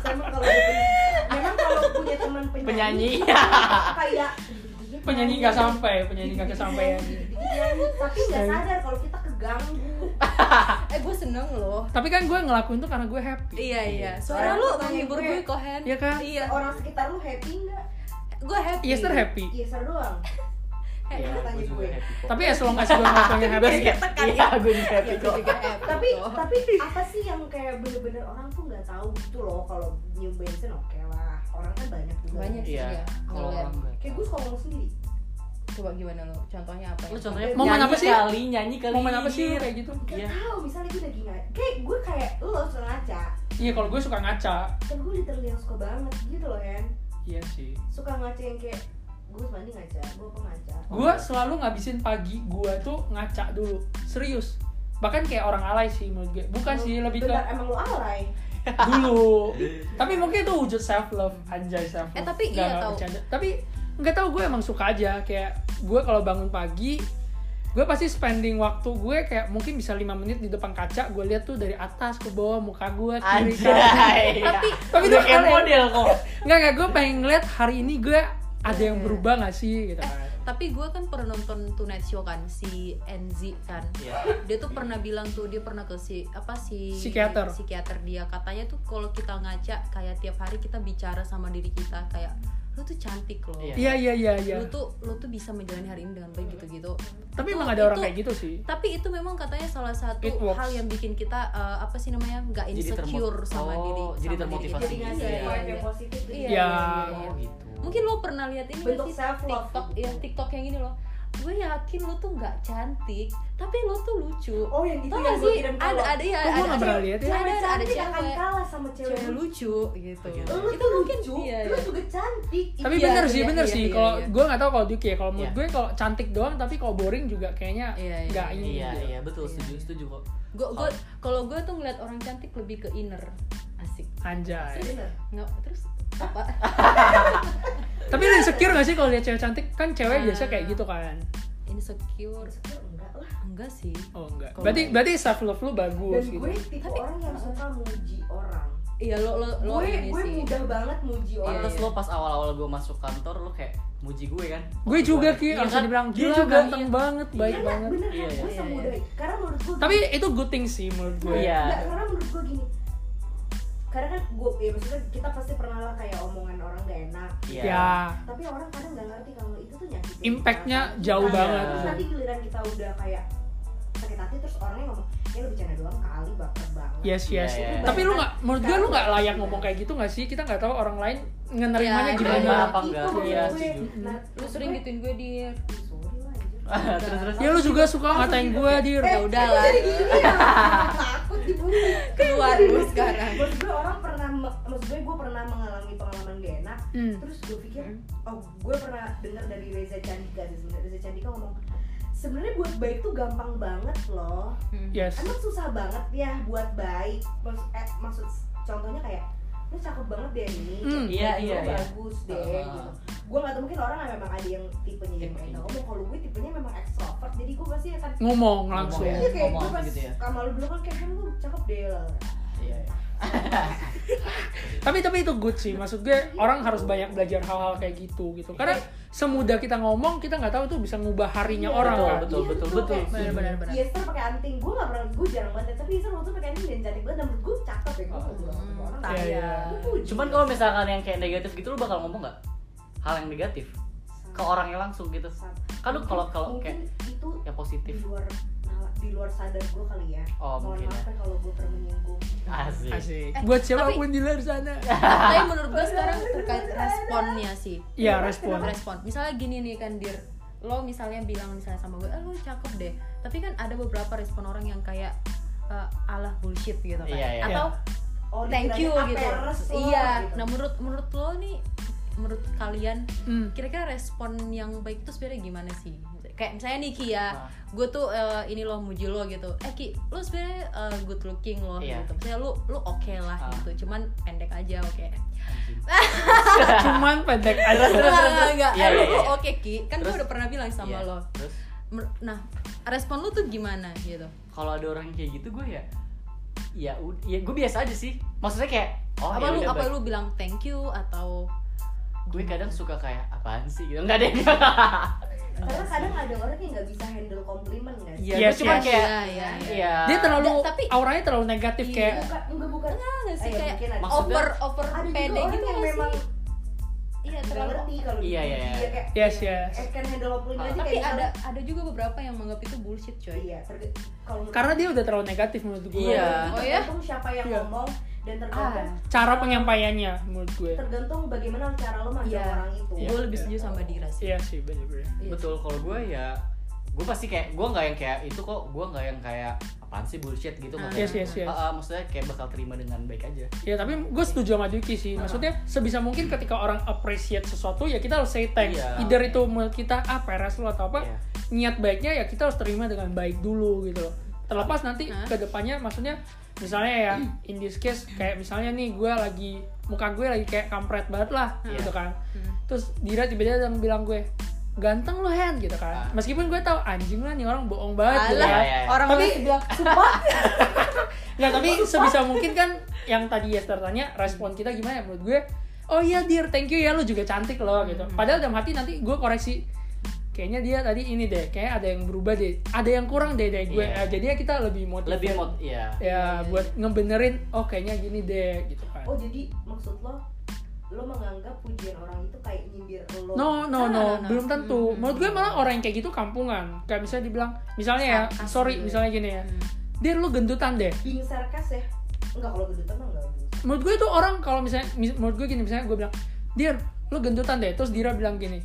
Speaker 2: sama kalau dia punya- memang kalau punya teman penyanyi,
Speaker 1: Penyanyi.
Speaker 2: kayak
Speaker 4: Penyanyi nggak sampai, penyanyi nggak kesampaian.
Speaker 2: tapi nggak sadar kalau kita keganggu
Speaker 3: eh gue seneng loh
Speaker 4: Tapi kan gue ngelakuin tuh karena gue happy.
Speaker 3: iya iya
Speaker 2: Orang
Speaker 3: suara lu
Speaker 2: pertanyaan
Speaker 3: menghibur
Speaker 2: gue.
Speaker 3: gue kohen
Speaker 4: Iya kan?
Speaker 3: iya
Speaker 2: orang sekitar lu happy nggak
Speaker 3: gue happy
Speaker 4: Yes, sir happy.
Speaker 2: iya sadar doang
Speaker 1: Iya,
Speaker 2: Tanya
Speaker 1: gue juga
Speaker 2: gue.
Speaker 1: happy kok.
Speaker 4: Tapi ya as long as gue ngelakuin
Speaker 1: Gue
Speaker 4: happy,
Speaker 1: juga- Iya, gue juga happy
Speaker 3: ya
Speaker 1: kok.
Speaker 3: gue juga happy
Speaker 2: tapi
Speaker 4: Gitu.
Speaker 3: kok.
Speaker 2: tapi apa sih yang kayak bener-bener orang tuh nggak tahu gitu loh kalau nyium bensin oke lah orang kan banyak juga
Speaker 3: banyak sih
Speaker 1: Iya,
Speaker 3: ya
Speaker 1: kalau orang nggak.
Speaker 2: kayak gue suka ngomong sendiri
Speaker 3: coba gimana lo contohnya apa ya?
Speaker 1: Lu contohnya Iya.
Speaker 4: Momen
Speaker 1: nyanyi
Speaker 4: apa sih?
Speaker 1: Kali nyanyi kali.
Speaker 4: momen apa sih lu kayak gitu?
Speaker 2: nggak
Speaker 1: Iya.
Speaker 2: tahu misalnya gue lagi ngaca kayak gue kayak lo suka ngaca
Speaker 4: Iya kalau gue suka ngaca.
Speaker 2: kan gue literally yang suka banget gitu loh kan
Speaker 4: Iya sih.
Speaker 2: suka ngaca yang kayak gue mandi ngaca gue apa ngaca
Speaker 3: Oh,
Speaker 4: Gue
Speaker 3: iya.
Speaker 4: selalu ngabisin pagi gue tuh ngaca dulu. Serius. Bahkan kayak orang alay sih menurut gue. Bukan sih lebih ke
Speaker 2: Bentar, emang lu alay
Speaker 4: dulu. Tapi mungkin itu wujud self love anjay self love.
Speaker 3: Eh, tapi iya tau.
Speaker 4: Tapi nggak tahu gue emang suka aja kayak gue kalau bangun pagi gue pasti spending waktu gue kayak mungkin bisa lima menit di depan kaca gue lihat tuh dari atas ke bawah muka gue kiri kanan
Speaker 1: Anjay.
Speaker 3: Tapi-
Speaker 4: tapi
Speaker 1: Udah
Speaker 4: itu
Speaker 1: kayak
Speaker 4: keren.
Speaker 1: model kok.
Speaker 4: nggak nggak gue pengen ngeliat hari ini gue ada yang berubah nggak sih gitu
Speaker 3: Eh,
Speaker 4: kan
Speaker 3: tapi gue kan pernah nonton Tonight Show kan si NZ kan
Speaker 1: Iya.
Speaker 3: dia tuh pernah bilang tuh dia pernah ke si apa si
Speaker 4: Psikiater.
Speaker 3: psikiater dia katanya tuh kalau kita ngaca kayak tiap hari kita bicara sama diri kita kayak lu tuh cantik loh
Speaker 1: Iya.
Speaker 4: iya iya iya iya
Speaker 3: lu tuh lu tuh bisa menjalani hari ini dengan baik gitu-gitu
Speaker 4: tapi
Speaker 3: Itu-
Speaker 4: emang ada orang
Speaker 3: itu-
Speaker 4: kayak gitu sih
Speaker 3: tapi itu memang katanya salah satu
Speaker 4: It works.
Speaker 3: hal yang bikin kita eh, apa sih namanya nggak
Speaker 1: Jadi termo-
Speaker 3: insecure sama
Speaker 1: Oh, jadi
Speaker 3: diri sama diri kita.
Speaker 1: termotivasi
Speaker 2: jadi
Speaker 1: Iya,
Speaker 2: ngasih
Speaker 1: iya,
Speaker 2: vibe yang positif gitu.
Speaker 3: Iya,
Speaker 4: Ya.
Speaker 3: iya,
Speaker 1: Oh
Speaker 3: iya.
Speaker 1: gitu.
Speaker 3: mungkin lo pernah lihat ini nggak
Speaker 2: Bentuk
Speaker 3: sih?
Speaker 2: self-love.
Speaker 3: TikTok ya TikTok yang ini loh gue yakin lo tuh nggak cantik tapi lo tuh lucu
Speaker 2: oh yang gitu
Speaker 3: Tau
Speaker 2: yang
Speaker 3: gak
Speaker 2: gue
Speaker 3: sih
Speaker 2: kirim ke
Speaker 3: ada
Speaker 2: lo.
Speaker 3: ada ya
Speaker 4: Kok gua
Speaker 3: ada
Speaker 4: nggak pernah lihat ya?
Speaker 3: ada
Speaker 2: cewek
Speaker 3: ada, ada
Speaker 2: cantik akan
Speaker 3: cewek
Speaker 2: kalah sama cewek
Speaker 3: cewek
Speaker 2: lucu
Speaker 3: lucu gitu
Speaker 1: Oke.
Speaker 2: lu
Speaker 3: itu
Speaker 2: tuh
Speaker 3: mungkin
Speaker 2: lucu
Speaker 3: iya,
Speaker 2: lu
Speaker 3: iya.
Speaker 2: juga cantik
Speaker 4: tapi
Speaker 3: Iya,
Speaker 4: bener sih
Speaker 3: iya,
Speaker 4: bener
Speaker 3: iya,
Speaker 4: sih
Speaker 3: iya,
Speaker 4: kalau
Speaker 3: iya.
Speaker 4: gue nggak tahu kalau Duki ya kalau menurut
Speaker 1: Iya.
Speaker 4: gue kalau cantik doang tapi kalau boring juga kayaknya
Speaker 3: Iya, iya,
Speaker 4: nggak ini
Speaker 1: Iya,
Speaker 4: gitu.
Speaker 1: iya, betul setuju setuju kok.
Speaker 3: gue gue
Speaker 2: Oh.
Speaker 3: kalau gue tuh ngeliat orang cantik lebih ke inner asik
Speaker 4: anjay
Speaker 2: Iya, Bener.
Speaker 3: nggak terus apa
Speaker 4: tapi lu insecure gak sih kalau lihat cewek cantik kan cewek
Speaker 3: Ah.
Speaker 4: biasa kayak gitu kan
Speaker 3: insecure
Speaker 2: Insecure enggak lah
Speaker 3: enggak sih
Speaker 4: oh enggak
Speaker 3: Kalau-
Speaker 4: berarti berarti self love lu
Speaker 2: dan ya-
Speaker 4: bagus gitu
Speaker 2: gue tipe
Speaker 3: Tapi-
Speaker 2: orang yang suka muji orang
Speaker 3: iya lo lo lo
Speaker 2: gue
Speaker 3: ini
Speaker 2: gue
Speaker 3: sih. Iya,
Speaker 2: mudah banget muji orang
Speaker 1: Terus lo pas awal-awal gue masuk kantor lo kayak muji gue kan?
Speaker 4: gue juga ki
Speaker 1: Iya
Speaker 4: langsung
Speaker 1: kan?
Speaker 4: dibilang
Speaker 1: Dia
Speaker 4: gila
Speaker 1: juga,
Speaker 4: ganteng
Speaker 1: iya.
Speaker 4: banget baik
Speaker 2: karena
Speaker 4: banget
Speaker 1: Iya,
Speaker 2: bener kan
Speaker 1: iya,
Speaker 2: gue
Speaker 3: iya,
Speaker 2: semudah
Speaker 3: iya.
Speaker 2: karena menurut gue
Speaker 4: tapi itu good thing sih menurut ya. gue
Speaker 1: Iya.
Speaker 2: Nggak, karena menurut gue gini karena kan gue ya maksudnya kita pasti pernah lah kayak omongan orang gak enak
Speaker 1: Iya.
Speaker 4: ya
Speaker 2: tapi orang kadang nggak ngerti kalau itu tuh nyakitin
Speaker 4: Impact-nya
Speaker 2: perasaan kita.
Speaker 4: jauh
Speaker 1: banget.
Speaker 2: gitu. terus nanti giliran kita udah kayak sakit hati terus orangnya ngomong ya lu bercanda doang kali baper banget
Speaker 4: yes
Speaker 1: Iya,
Speaker 4: yes
Speaker 1: iya.
Speaker 4: tapi lu nggak menurut gue lu nggak layak ngomong kayak gitu nggak sih kita nggak tahu orang lain
Speaker 3: Iya,
Speaker 4: ngenerimanya gimana
Speaker 1: iya. apa enggak?
Speaker 2: Nah, itu maksud
Speaker 1: Iya,
Speaker 2: gue.
Speaker 1: setuju.
Speaker 2: Nah,
Speaker 3: lu sering gitu. gituin gue dir
Speaker 2: sorry lah anjir.
Speaker 1: terus terus.
Speaker 4: ya lu juga suka ngatain gue dir
Speaker 3: Ya
Speaker 2: Eh,
Speaker 3: udah
Speaker 2: aku
Speaker 3: lah.
Speaker 2: jadi gini ya. takut dibully
Speaker 3: keluar lu sekarang
Speaker 2: maksud gue orang pernah me- maksud gue gue pernah mengalami pengalaman gak enak
Speaker 4: Hmm.
Speaker 2: terus gue pikir oh gue pernah dengar dari Reza Candika sih sebenarnya Reza Candika ngomong sebenarnya buat baik tuh gampang banget loh
Speaker 3: Hmm.
Speaker 1: Iya.
Speaker 4: yes
Speaker 2: emang susah banget ya buat baik maksud, eh, maksud contohnya kayak lu cakep banget deh ini
Speaker 4: Hmm,
Speaker 1: iya,
Speaker 2: Lu
Speaker 1: iya, iya.
Speaker 2: bagus deh
Speaker 1: Ah.
Speaker 2: gitu gue gak tau mungkin orang memang ada yang tipenya yang kayak
Speaker 1: Tipenya.
Speaker 2: ngomong kalau gue tipenya memang extrovert jadi gue pasti akan
Speaker 4: ngomong langsung
Speaker 1: Ngomong
Speaker 2: Iya kayak gue
Speaker 1: Ngomong
Speaker 2: pas
Speaker 1: gitu ya.
Speaker 2: sama lu dulu kan kayak "Hem, lu cakep deh lah."
Speaker 1: Iya. iya.
Speaker 4: tapi tapi itu good sih maksud gue orang harus banyak belajar hal-hal kayak gitu gitu karena semudah kita ngomong kita nggak tahu tuh bisa ngubah harinya
Speaker 2: Iya.
Speaker 4: orang
Speaker 1: Betul, betul,
Speaker 4: kan
Speaker 2: Iya,
Speaker 1: betul,
Speaker 2: betul,
Speaker 1: betul.
Speaker 2: kayak-
Speaker 1: Setuju.
Speaker 3: Benar, benar, benar.
Speaker 2: Yester Iya, pakai anting, gue gak pernah, gue jarang banget Tapi Yester waktu itu pakai anting dan cantik banget dan menurut gue cakep ya
Speaker 1: Oh.
Speaker 2: Gue juga
Speaker 3: Hmm,
Speaker 2: orang
Speaker 3: tai
Speaker 4: Iya,
Speaker 3: ya.
Speaker 2: Gue puji.
Speaker 1: Cuman kalau misalkan yang kayak negatif gitu lu bakal ngomong nggak hal yang negatif ke orangnya langsung gitu? Kan lu kalau kalau kayak
Speaker 2: Mungkin itu
Speaker 1: yang
Speaker 2: di
Speaker 1: positif
Speaker 2: luar nala- di luar sadar gue kali ya
Speaker 1: Oh, mungkin
Speaker 2: Mohon maaf ya kalau gue pernah menyinggung
Speaker 1: asik.
Speaker 4: asik
Speaker 3: Eh,
Speaker 4: buat
Speaker 3: tapi-
Speaker 4: siapapun di luar sana
Speaker 3: tapi menurut gue sekarang terkait responnya sih
Speaker 4: ya
Speaker 1: Iya.
Speaker 4: respon
Speaker 3: respon misalnya gini nih kan dir lo misalnya bilang misalnya sama gue eh lo cakep deh tapi kan ada beberapa respon orang yang kayak eh, alah bullshit gitu kan
Speaker 1: Iya, iya.
Speaker 3: atau
Speaker 2: oh
Speaker 3: thank you
Speaker 2: dikiranya
Speaker 3: gitu
Speaker 2: aperes lo,
Speaker 3: iya
Speaker 2: gitu.
Speaker 3: nah menurut menurut lo nih menurut kalian
Speaker 4: Hmm.
Speaker 3: kira-kira respon yang baik itu sebenarnya gimana sih kayak misalnya nih Ki ya
Speaker 1: Ah.
Speaker 3: gue tuh eh, ini lo muji lo gitu eh Ki lo sebenarnya eh, good looking lo
Speaker 1: Iya.
Speaker 3: gitu misalnya lo lo oke lah
Speaker 1: Ah.
Speaker 3: gitu cuman pendek aja oke
Speaker 1: Anjing.
Speaker 4: cuman pendek aja
Speaker 3: Enggak, enggak, enggak.
Speaker 1: Iya,
Speaker 3: Eh, lo-
Speaker 1: iya,
Speaker 3: lo
Speaker 1: iya.
Speaker 3: oke Ki kan gue
Speaker 1: Terus?
Speaker 3: udah pernah bilang sama
Speaker 1: Iya.
Speaker 3: lo
Speaker 1: terus
Speaker 3: Mer- nah respon lo tuh gimana gitu
Speaker 1: kalau ada orang kayak gitu gue ya ya ud- ya gue biasa aja sih maksudnya kayak oh
Speaker 3: apa
Speaker 1: ya
Speaker 3: lu
Speaker 1: udah,
Speaker 3: apa
Speaker 1: baik.
Speaker 3: lu bilang thank you atau
Speaker 1: gue kadang suka kayak apaan sih gitu nggak deh
Speaker 2: karena kadang ada orang yang nggak bisa handle komplimen kan
Speaker 1: Iya,
Speaker 4: Yes,
Speaker 1: gue cuma
Speaker 4: yes.
Speaker 1: kayak
Speaker 3: Iya, iya.
Speaker 1: iya.
Speaker 4: dia terlalu
Speaker 3: Nggak, tapi-
Speaker 4: auranya terlalu negatif
Speaker 3: Iya.
Speaker 4: kayak
Speaker 2: bukan enggak bukan
Speaker 3: enggak enggak sih
Speaker 2: Eh, ya
Speaker 3: kayak
Speaker 2: mungkin ada.
Speaker 1: Maksudnya-
Speaker 3: over over
Speaker 2: ada juga
Speaker 3: pede
Speaker 2: orang
Speaker 3: gitu
Speaker 2: yang
Speaker 3: nggak sih?
Speaker 2: memang
Speaker 3: iya
Speaker 2: nggak
Speaker 3: terlalu
Speaker 2: ngerti kalau
Speaker 1: Iya,
Speaker 2: gitu.
Speaker 1: iya, iya.
Speaker 2: Dia kayak
Speaker 4: yes yes
Speaker 2: eh, can handle komplimen aja
Speaker 3: tapi
Speaker 2: kayak
Speaker 3: ada
Speaker 2: misalnya-
Speaker 3: ada juga beberapa yang menganggap itu bullshit coy
Speaker 2: iya terge- kalau
Speaker 4: karena dia udah terlalu negatif menurut gue
Speaker 1: Iya.
Speaker 3: Oh, ya?
Speaker 2: tergantung siapa yang
Speaker 4: Iya.
Speaker 2: ngomong dan tergantung
Speaker 3: ah
Speaker 4: cara penyampaiannya menurut gue
Speaker 2: tergantung bagaimana cara lo mandang
Speaker 3: Iya.
Speaker 2: orang itu
Speaker 1: Iya.
Speaker 3: gue lebih setuju sama Dira sih
Speaker 4: iya sih bener-bener
Speaker 3: Iya.
Speaker 1: betul kalau gue ya gue pasti kayak gue nggak yang kayak itu kok gue nggak yang kayak apaan sih bullshit gitu
Speaker 3: Ah.
Speaker 1: maksudnya
Speaker 4: yes yes yes
Speaker 1: Ah, ah, maksudnya kayak bakal terima dengan baik aja
Speaker 4: Ya tapi gue setuju sama Juki sih. Maksudnya sebisa mungkin ketika orang appreciate sesuatu ya kita harus say thanks.
Speaker 1: Iya.
Speaker 4: Either itu menurut kita ah peres lu atau apa,
Speaker 1: Iya.
Speaker 4: niat baiknya ya kita harus terima dengan baik dulu gitu loh. Terlepas nanti
Speaker 3: Hah?
Speaker 4: ke depannya maksudnya misalnya ya in this case kayak misalnya nih gue lagi muka gue lagi kayak kampret banget lah
Speaker 1: Iya.
Speaker 4: gitu kan.
Speaker 3: Hmm.
Speaker 4: Terus Dira tiba-tiba yang bilang gue ganteng lu Hen gitu
Speaker 1: Ah.
Speaker 4: kan. Meskipun gue tahu anjing lah nih orang bohong banget gitu
Speaker 3: Alah,
Speaker 4: kan.
Speaker 1: Iya, iya.
Speaker 3: orang
Speaker 4: Tapi-
Speaker 3: tapi bilang sumpah
Speaker 4: Nggak, tapi sebisa mungkin kan yang tadi Yester tanya,
Speaker 1: Hmm.
Speaker 4: respon kita gimana ya? menurut gue? Oh iya dear, thank you ya lu juga cantik loh
Speaker 1: Hmm.
Speaker 4: gitu. Padahal dalam hati nanti gue koreksi kayaknya dia tadi ini deh, kayak ada yang berubah deh. Ada yang kurang deh dari gue.
Speaker 1: Iya.
Speaker 4: Nah, jadinya kita lebih motivate.
Speaker 1: lebih mod ya
Speaker 4: ya buat ngebenerin oh kayaknya gini deh gitu kan.
Speaker 2: oh jadi maksud lo lo menganggap pujian orang itu kayak nyindir lo
Speaker 4: No,
Speaker 3: No,
Speaker 4: no, no,
Speaker 1: Nah,
Speaker 3: no, no.
Speaker 4: belum tentu.
Speaker 1: Hmm,
Speaker 3: Mm-mm.
Speaker 4: Menurut gue malah orang yang kayak gitu kampungan. Kayak misalnya dibilang, misalnya ya,
Speaker 3: Sarkas
Speaker 4: sorry,
Speaker 3: gitu ya.
Speaker 4: misalnya gini ya,
Speaker 1: Hmm.
Speaker 4: dia lu gendutan deh.
Speaker 2: being sarkas ya enggak kalau gendut emang enggak gendut.
Speaker 4: menurut gue itu orang kalau misalnya mis- menurut gue gini misalnya gue bilang Dir lu gendutan deh terus Dira bilang gini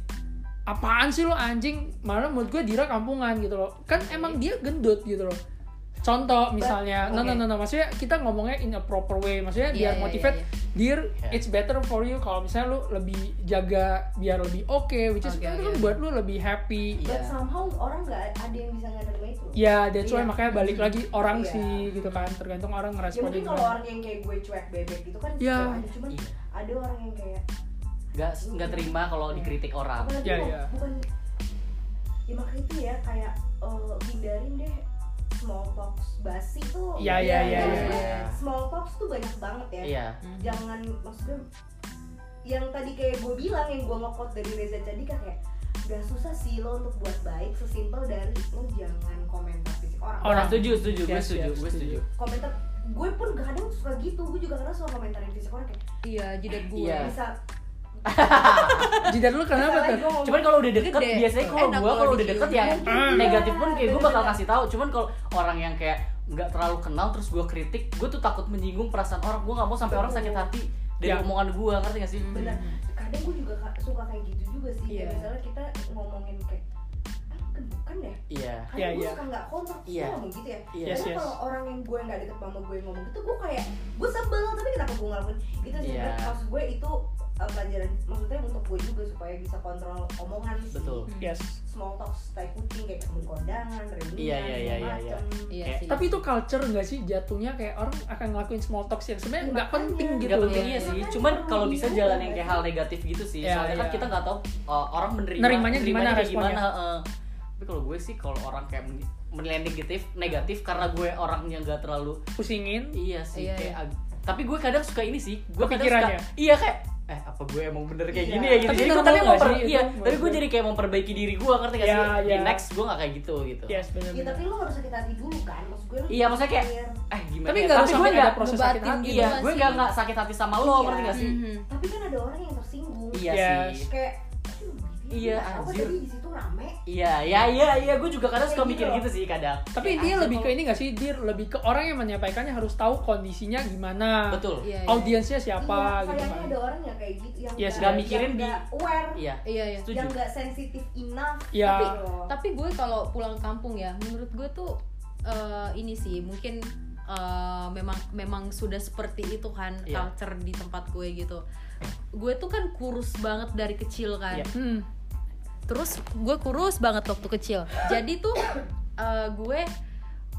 Speaker 4: apaan sih lu anjing malah menurut gue Dira kampungan gitu loh kan emang dia gendut gitu loh contoh misalnya no, no
Speaker 2: oke.
Speaker 4: no no maksudnya kita ngomongnya in a proper way
Speaker 3: Iya,
Speaker 4: maksudnya biar
Speaker 3: iya,
Speaker 4: motivate
Speaker 3: iya,
Speaker 4: Dear,
Speaker 1: Yeah.
Speaker 4: it's better for you kalau misalnya lu lebih jaga biar lebih oke, which is
Speaker 3: Oke,
Speaker 4: itu
Speaker 3: oke,
Speaker 4: kan
Speaker 3: oke.
Speaker 4: buat lu lebih happy.
Speaker 2: but
Speaker 1: Iya.
Speaker 2: somehow orang nggak ada yang bisa ngenerima itu
Speaker 4: Ya, that's why
Speaker 3: Iya.
Speaker 4: makanya balik lagi orang
Speaker 2: Iya.
Speaker 4: sih gitu kan, tergantung orang
Speaker 2: ya
Speaker 4: ngeresponnya.
Speaker 2: mungkin kalau
Speaker 4: gimana.
Speaker 2: orang yang kayak gue cuek bebek gitu kan
Speaker 4: Iya.
Speaker 2: cuek aja cuman
Speaker 1: Iya.
Speaker 2: ada orang yang kayak
Speaker 1: nggak nggak terima kalau dikritik orang
Speaker 2: apalagi
Speaker 4: Iya,
Speaker 2: lo-
Speaker 4: iya.
Speaker 2: bukan ya makanya itu ya kayak eh, hindarin deh small talks basi tuh
Speaker 4: Iya, iya, iya,
Speaker 2: Kan
Speaker 4: iya.
Speaker 2: sebenarnya small talks tuh banyak banget ya
Speaker 1: iya
Speaker 2: jangan maksudnya yang tadi kayak gue bilang yang gue ngokot dari Reza Cadika kayak gak susah sih lo untuk buat baik sesimpel dari lo jangan komentar fisik orang
Speaker 4: Orang.
Speaker 1: setuju setuju gue
Speaker 4: Yes,
Speaker 1: setuju
Speaker 4: yes,
Speaker 1: gue setuju
Speaker 4: setuju.
Speaker 2: komentar gue pun kadang suka gitu gue juga kadang suka komentarin fisik orang kayak
Speaker 3: iya jidat gue
Speaker 1: Iya.
Speaker 2: bisa
Speaker 4: Jidat lu kenapa
Speaker 2: Salah
Speaker 4: tuh?
Speaker 2: gue ngomong.
Speaker 1: cuman kalau udah deket
Speaker 3: Gede.
Speaker 1: biasanya kalau
Speaker 3: Enak
Speaker 1: gue
Speaker 3: kalau Ah.
Speaker 1: kalau udah
Speaker 3: dicium.
Speaker 1: deket ya
Speaker 4: Mungkin.
Speaker 1: negatif pun kayak gue bakal
Speaker 2: Bener-bener.
Speaker 1: kasih tahu cuman kalau orang yang kayak nggak terlalu kenal terus gue kritik gue tuh takut menyinggung perasaan orang gue nggak mau sampai orang sakit hati dari
Speaker 4: Ya.
Speaker 1: omongan gue ngerti gak sih
Speaker 2: bener kadang gue juga ka- suka kayak gitu juga sih
Speaker 3: Iya.
Speaker 2: kayak misalnya kita ngomongin kayak ah bukan deh
Speaker 1: iya
Speaker 2: kadang
Speaker 4: Iya,
Speaker 2: gue
Speaker 4: iya.
Speaker 2: suka nggak kompak gue
Speaker 1: Iya.
Speaker 2: ngomong gitu ya
Speaker 1: Iya.
Speaker 2: Karena
Speaker 4: Yes, yes.
Speaker 2: kalau orang yang gue nggak deket sama gue ngomong gitu gue kayak gue sebel tapi kenapa gue ngelakuin gitu sih
Speaker 1: Iya.
Speaker 2: maksud gue itu uh, pelajaran maksudnya untuk gue juga supaya bisa kontrol omongan sih.
Speaker 1: betul
Speaker 4: Yes.
Speaker 2: small talks tai kucing kayak ketemu di kondangan reunian
Speaker 1: Iya, iya, iya,
Speaker 2: segala
Speaker 1: iya, iya.
Speaker 2: macem.
Speaker 3: iya
Speaker 1: Kayak-
Speaker 3: sih
Speaker 4: Tapi itu culture nggak sih jatuhnya kayak orang akan ngelakuin small talks yang sebenarnya nggak
Speaker 2: Makanya.
Speaker 4: penting gitu.
Speaker 1: Gak penting
Speaker 3: Iya,
Speaker 1: iya sih,
Speaker 2: makanya
Speaker 1: cuman
Speaker 2: perlu
Speaker 1: kalau bisa
Speaker 2: diubah,
Speaker 1: jalan yang kayak
Speaker 2: kan?
Speaker 1: hal negatif gitu sih.
Speaker 4: Iya,
Speaker 1: Soalnya kan
Speaker 4: iya.
Speaker 1: kita nggak tahu uh, orang menerima
Speaker 4: Nerimanya gimana
Speaker 1: kayak
Speaker 4: responnya.
Speaker 1: heeh. Tapi kalau gue sih kalau orang kayak men- menilai negatif, negatif karena gue orangnya nggak terlalu
Speaker 4: Pusingin.
Speaker 1: iya sih
Speaker 3: Iya,
Speaker 1: kayak ag- tapi gue kadang suka ini sih, gue kadang
Speaker 4: Kepikirannya.
Speaker 1: suka iya kayak eh apa gue emang bener kayak
Speaker 2: Iya.
Speaker 1: gini ya gitu.
Speaker 4: Tapi
Speaker 1: Jadi gue
Speaker 4: normal
Speaker 1: tapi mau
Speaker 4: nggak
Speaker 1: per,
Speaker 4: sih itu?
Speaker 1: iya, tapi gue
Speaker 4: Maksudnya.
Speaker 1: jadi kayak memperbaiki diri gue ngerti gak
Speaker 4: Iya,
Speaker 1: sih? Di
Speaker 4: iya.
Speaker 1: next gue nggak kayak gitu gitu.
Speaker 4: Yes,
Speaker 2: ya
Speaker 3: iya,
Speaker 4: benar-benar.
Speaker 2: tapi lo harus sakit hati dulu kan maksud gue lo
Speaker 1: Iya, maksudnya kayak-
Speaker 2: biar-
Speaker 1: Eh gimana?
Speaker 4: Tapi
Speaker 1: ya?
Speaker 4: nggak harus
Speaker 1: gue
Speaker 4: sampai ada
Speaker 1: nggak
Speaker 4: proses sakit
Speaker 3: ngebatin
Speaker 4: hati.
Speaker 3: gitu.
Speaker 1: iya, gue
Speaker 3: sih.
Speaker 1: nggak nggak sakit hati sama lo,
Speaker 2: Iya.
Speaker 1: ngerti gak sih?
Speaker 3: Mhm.
Speaker 2: tapi kan ada orang yang tersinggung
Speaker 1: Iya
Speaker 4: Yes.
Speaker 1: sih.
Speaker 2: kayak
Speaker 1: Iya,
Speaker 2: aku
Speaker 1: anjir.
Speaker 2: gitu ya, tadi di situ rame
Speaker 1: Iya, ya, ya, ya, gue juga kadang suka
Speaker 2: Kayak
Speaker 1: mikir
Speaker 2: gitu.
Speaker 1: gitu sih kadang.
Speaker 4: Tapi
Speaker 3: Kayak
Speaker 4: dia
Speaker 3: aja
Speaker 4: lebih ke
Speaker 3: kalau-
Speaker 4: ini nggak sih? Dia lebih ke orang yang menyampaikannya harus tahu kondisinya gimana.
Speaker 1: Betul.
Speaker 3: Iya, iya.
Speaker 4: Audiensnya siapa
Speaker 2: iya,
Speaker 4: gitu
Speaker 2: sayangnya
Speaker 4: kan.
Speaker 2: ada orang yang kayak gitu yang
Speaker 4: Yes,
Speaker 1: nggak Iya, mikirin
Speaker 2: yang
Speaker 1: di-
Speaker 2: nggak aware
Speaker 1: Iya.
Speaker 3: iya iya
Speaker 1: Setuju.
Speaker 2: yang nggak sensitif enough
Speaker 4: Iya.
Speaker 2: Tapi-
Speaker 3: tapi gue kalau pulang kampung ya menurut gue tuh eh, ini sih mungkin eh, memang memang sudah seperti itu kan
Speaker 1: Iya.
Speaker 3: culture di tempat gue gitu gue tuh kan kurus banget dari kecil kan
Speaker 1: Iya.
Speaker 4: Hmm.
Speaker 3: terus gue kurus banget waktu kecil jadi tuh eh, gue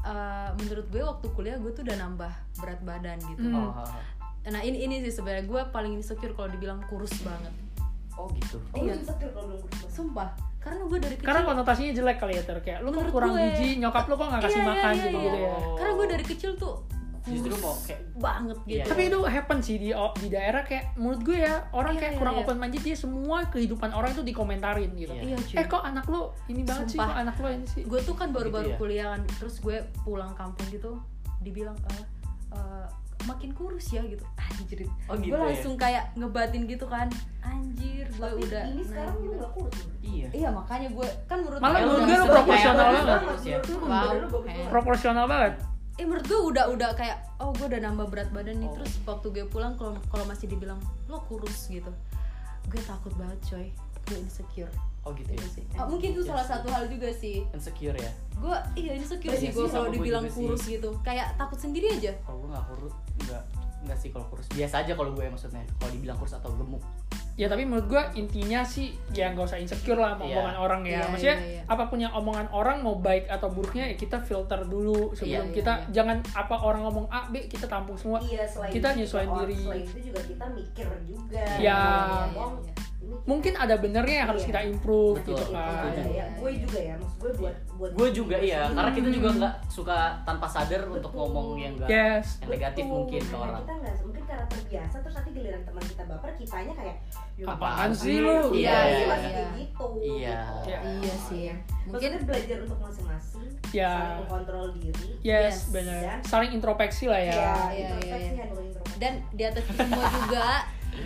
Speaker 3: eh, menurut gue waktu kuliah gue tuh udah nambah berat badan gitu
Speaker 4: Hmm.
Speaker 1: Oh, oh, oh.
Speaker 3: nah ini ini sih sebenarnya gue paling insecure kalau dibilang kurus banget
Speaker 1: Oh, gitu.
Speaker 2: Oh, lu
Speaker 3: Iya.
Speaker 2: insecure kalau belum kurus banget.
Speaker 3: sumpah karena gue dari kecil
Speaker 4: Karena konotasinya jelek kali ya Ter, kayak lu kok
Speaker 3: Menurut
Speaker 4: kurang
Speaker 3: gue.
Speaker 4: gizi, nyokap lu kok nggak kasih
Speaker 3: Iya, iya,
Speaker 4: makan
Speaker 3: iya,
Speaker 4: gitu
Speaker 3: iya.
Speaker 4: gitu ya.
Speaker 3: karena gue dari kecil tuh kurus
Speaker 1: Justru mau kayak-
Speaker 3: banget
Speaker 1: Iya,
Speaker 3: gitu
Speaker 1: iya.
Speaker 4: Tapi itu happen sih di di daerah kayak menurut gue ya orang
Speaker 3: Iya,
Speaker 4: kayak
Speaker 3: iya,
Speaker 4: kurang
Speaker 3: iya.
Speaker 4: open minded dia semua kehidupan orang itu dikomentarin gitu.
Speaker 1: Iya.
Speaker 3: iya cuy
Speaker 4: Eh kok anak lu ini banget sih,
Speaker 3: Sumpah.
Speaker 4: kok anak lu ini sih.
Speaker 3: gue tuh kan baru-baru
Speaker 1: Gitu ya?
Speaker 3: kuliah kan terus gue pulang kampung gitu dibilang eh eh, makin kurus ya gitu anjir
Speaker 1: Oh, gitu
Speaker 3: gue
Speaker 1: ya?
Speaker 3: langsung kayak ngebatin gitu kan anjir gue
Speaker 2: Tapi
Speaker 3: udah
Speaker 2: ini sekarang
Speaker 3: naik
Speaker 2: lu
Speaker 3: gitu.
Speaker 2: nggak kurus loh.
Speaker 1: Iya.
Speaker 3: iya makanya gue kan menurut
Speaker 4: Malah
Speaker 3: gue
Speaker 4: menurut
Speaker 3: udah
Speaker 4: gue lu
Speaker 3: sesuai-
Speaker 4: proporsional
Speaker 3: kayak-
Speaker 1: banget.
Speaker 2: Menurut lu,
Speaker 3: Wow,
Speaker 2: badan lu bagus
Speaker 3: kayak-
Speaker 2: banget.
Speaker 4: Proporsional banget.
Speaker 3: eh menurut gue udah udah kayak oh gue udah nambah berat badan nih
Speaker 1: Oh.
Speaker 3: terus waktu gue pulang kalau kalau masih dibilang lo kurus gitu gue takut banget coy gue insecure
Speaker 1: Oh, gitu ya.
Speaker 3: Itu sih. Ah, mungkin itu salah satu hal juga sih
Speaker 1: Insecure ya.
Speaker 3: gue iya insecure
Speaker 1: Iya
Speaker 3: sih
Speaker 1: sih,
Speaker 3: gue
Speaker 1: sama
Speaker 3: kalau
Speaker 1: gua
Speaker 3: dibilang
Speaker 1: juga sih.
Speaker 3: kurus gitu kayak takut sendiri aja
Speaker 1: Kalau gue nggak kurus, nggak nggak sih kalau kurus. Biasa aja kalau gue maksudnya. Kalau dibilang kurus atau gemuk.
Speaker 4: Ya tapi menurut gue intinya sih ya nggak usah insecure lah sama
Speaker 1: Iya.
Speaker 4: omongan orang ya.
Speaker 3: Iya,
Speaker 4: Maksudnya
Speaker 3: iya, iya.
Speaker 4: apapun yang omongan orang mau baik atau buruknya ya kita filter dulu
Speaker 3: Iya, iya,
Speaker 4: sebelum kita
Speaker 3: iya.
Speaker 4: jangan apa orang ngomong A B kita tampung semua.
Speaker 2: Iya, selain
Speaker 4: Kita
Speaker 2: itu
Speaker 4: nyesuaiin
Speaker 2: juga-
Speaker 4: diri.
Speaker 2: Selain itu juga kita mikir juga.
Speaker 4: Iya.
Speaker 2: Ngomong,
Speaker 3: Iya,
Speaker 2: mikir.
Speaker 4: Mungkin ada benernya yang harus
Speaker 2: Iya.
Speaker 4: kita improve
Speaker 1: Betul.
Speaker 4: gitu
Speaker 2: Iya,
Speaker 4: kan.
Speaker 2: iya, iya. Gue juga ya, maksud gue buat buat
Speaker 1: Gue juga iya. Karena kita juga
Speaker 4: Hmm.
Speaker 1: nggak suka tanpa sadar untuk
Speaker 2: Betul.
Speaker 1: ngomong yang nggak
Speaker 4: Yes.
Speaker 1: yang negatif
Speaker 2: Betul,
Speaker 1: mungkin ke
Speaker 2: karena
Speaker 1: orang.
Speaker 3: Iya.
Speaker 2: Kita nggak mungkin karena terbiasa terus nanti giliran teman kita baper kitanya kayak "Ya,
Speaker 4: Apaan
Speaker 2: apaan
Speaker 4: sih lu?
Speaker 2: Iya,
Speaker 1: Iya,
Speaker 2: iya,
Speaker 1: iya.
Speaker 2: masih kayak gitu.
Speaker 1: Iya.
Speaker 4: Iya.
Speaker 3: iya sih
Speaker 2: Mungkin
Speaker 3: mungkin
Speaker 2: belajar untuk masing-masing,
Speaker 4: Iya.
Speaker 2: saling mengontrol diri.
Speaker 4: Yes,
Speaker 3: Yes.
Speaker 4: benar.
Speaker 2: Dan-
Speaker 4: Saling introspeksi lah ya.
Speaker 2: gitu.
Speaker 3: iya,
Speaker 2: introspeksi,
Speaker 3: iya.
Speaker 2: handle introspeksi.
Speaker 3: dan di atas itu semua juga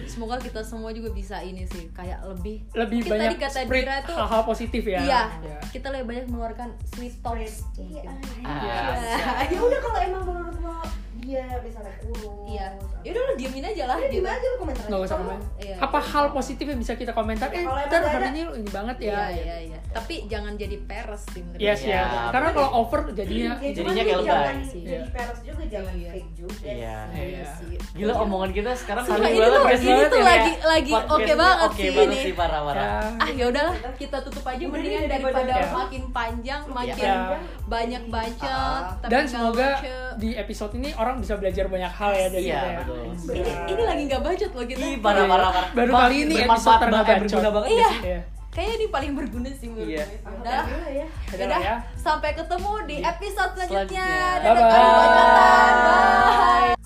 Speaker 3: semoga kita semua juga bisa ini sih kayak lebih
Speaker 4: Lebih
Speaker 3: Mungkin
Speaker 4: banyak
Speaker 3: tadi kata
Speaker 4: spread
Speaker 3: Dira tuh-
Speaker 4: hal-hal positif ya.
Speaker 3: iya
Speaker 4: Iya.
Speaker 3: kita lebih banyak mengeluarkan sweet talks
Speaker 2: Iya.
Speaker 3: mungkin.
Speaker 1: Ah,
Speaker 2: Ah, ya udah kalau emang menurut lo dia misalnya kurus.
Speaker 3: iya yaudah lu diemin aja lah
Speaker 2: Udah,
Speaker 3: gitu.
Speaker 2: diem aja lu komentar
Speaker 4: Nggak usah
Speaker 2: Kalau-
Speaker 4: komen.
Speaker 3: Iya,
Speaker 4: Apa
Speaker 3: iya.
Speaker 4: hal positif yang bisa kita komentar? Eh,
Speaker 2: Kalau emang
Speaker 4: ter
Speaker 2: ada-
Speaker 4: hari ini lu ini banget ya.
Speaker 3: iya iya iya tapi jangan jadi peres sih menurut
Speaker 4: Yes,
Speaker 1: Iya.
Speaker 4: ya. Karena kalau over jadinya
Speaker 2: Ya,
Speaker 1: Jadinya
Speaker 2: cuman lu
Speaker 1: kayak lebay.
Speaker 2: jangan
Speaker 3: Iya.
Speaker 2: Jadi peres juga jangan
Speaker 3: Iya.
Speaker 2: fake juga.
Speaker 1: Iya.
Speaker 3: gue.
Speaker 4: Iya.
Speaker 3: iya sih
Speaker 1: Gila omongan kita sekarang
Speaker 3: Sumpah,
Speaker 1: saling
Speaker 3: ini tuh-
Speaker 1: guys,
Speaker 3: ini
Speaker 1: banget
Speaker 3: tuh
Speaker 1: ya,
Speaker 3: lagi-
Speaker 1: Rea.
Speaker 3: lagi oke
Speaker 1: Podcast ini
Speaker 3: banget
Speaker 1: oke
Speaker 3: sih
Speaker 1: banget
Speaker 3: ini.
Speaker 1: sih parah-parah.
Speaker 4: ya.
Speaker 3: ah ya udahlah kita tutup aja
Speaker 2: Udah
Speaker 3: mendingan
Speaker 2: deh,
Speaker 3: daripada
Speaker 2: daripada-
Speaker 3: makin panjang makin
Speaker 4: Iya.
Speaker 3: banyak bacot
Speaker 1: Ah.
Speaker 3: tapi
Speaker 4: Dan
Speaker 3: nggak
Speaker 4: semoga
Speaker 3: lucu.
Speaker 4: di episode ini orang bisa belajar banyak hal ya dari
Speaker 1: Iya,
Speaker 4: kita ya.
Speaker 1: betul.
Speaker 3: ini ini lagi nggak bacot loh kita
Speaker 1: Ih, parah-parah parah.
Speaker 4: Baru
Speaker 1: Bang,
Speaker 4: kali ini
Speaker 1: bermanfaat
Speaker 4: episode ternyata
Speaker 1: banget, eh, berguna
Speaker 4: bacot.
Speaker 1: banget
Speaker 3: Iya.
Speaker 1: gak sih?
Speaker 4: Iya.
Speaker 3: kayaknya ini paling berguna sih menurut
Speaker 1: Iya.
Speaker 3: gue udah
Speaker 2: Alhamdulillah ya.
Speaker 4: Udah
Speaker 3: Yaudah,
Speaker 4: lah ya.
Speaker 3: sampai ketemu di episode selanjutnya.
Speaker 1: Selanjutnya.
Speaker 3: Dadah,
Speaker 4: Bye-bye.
Speaker 3: Bang Bacatan. Bye.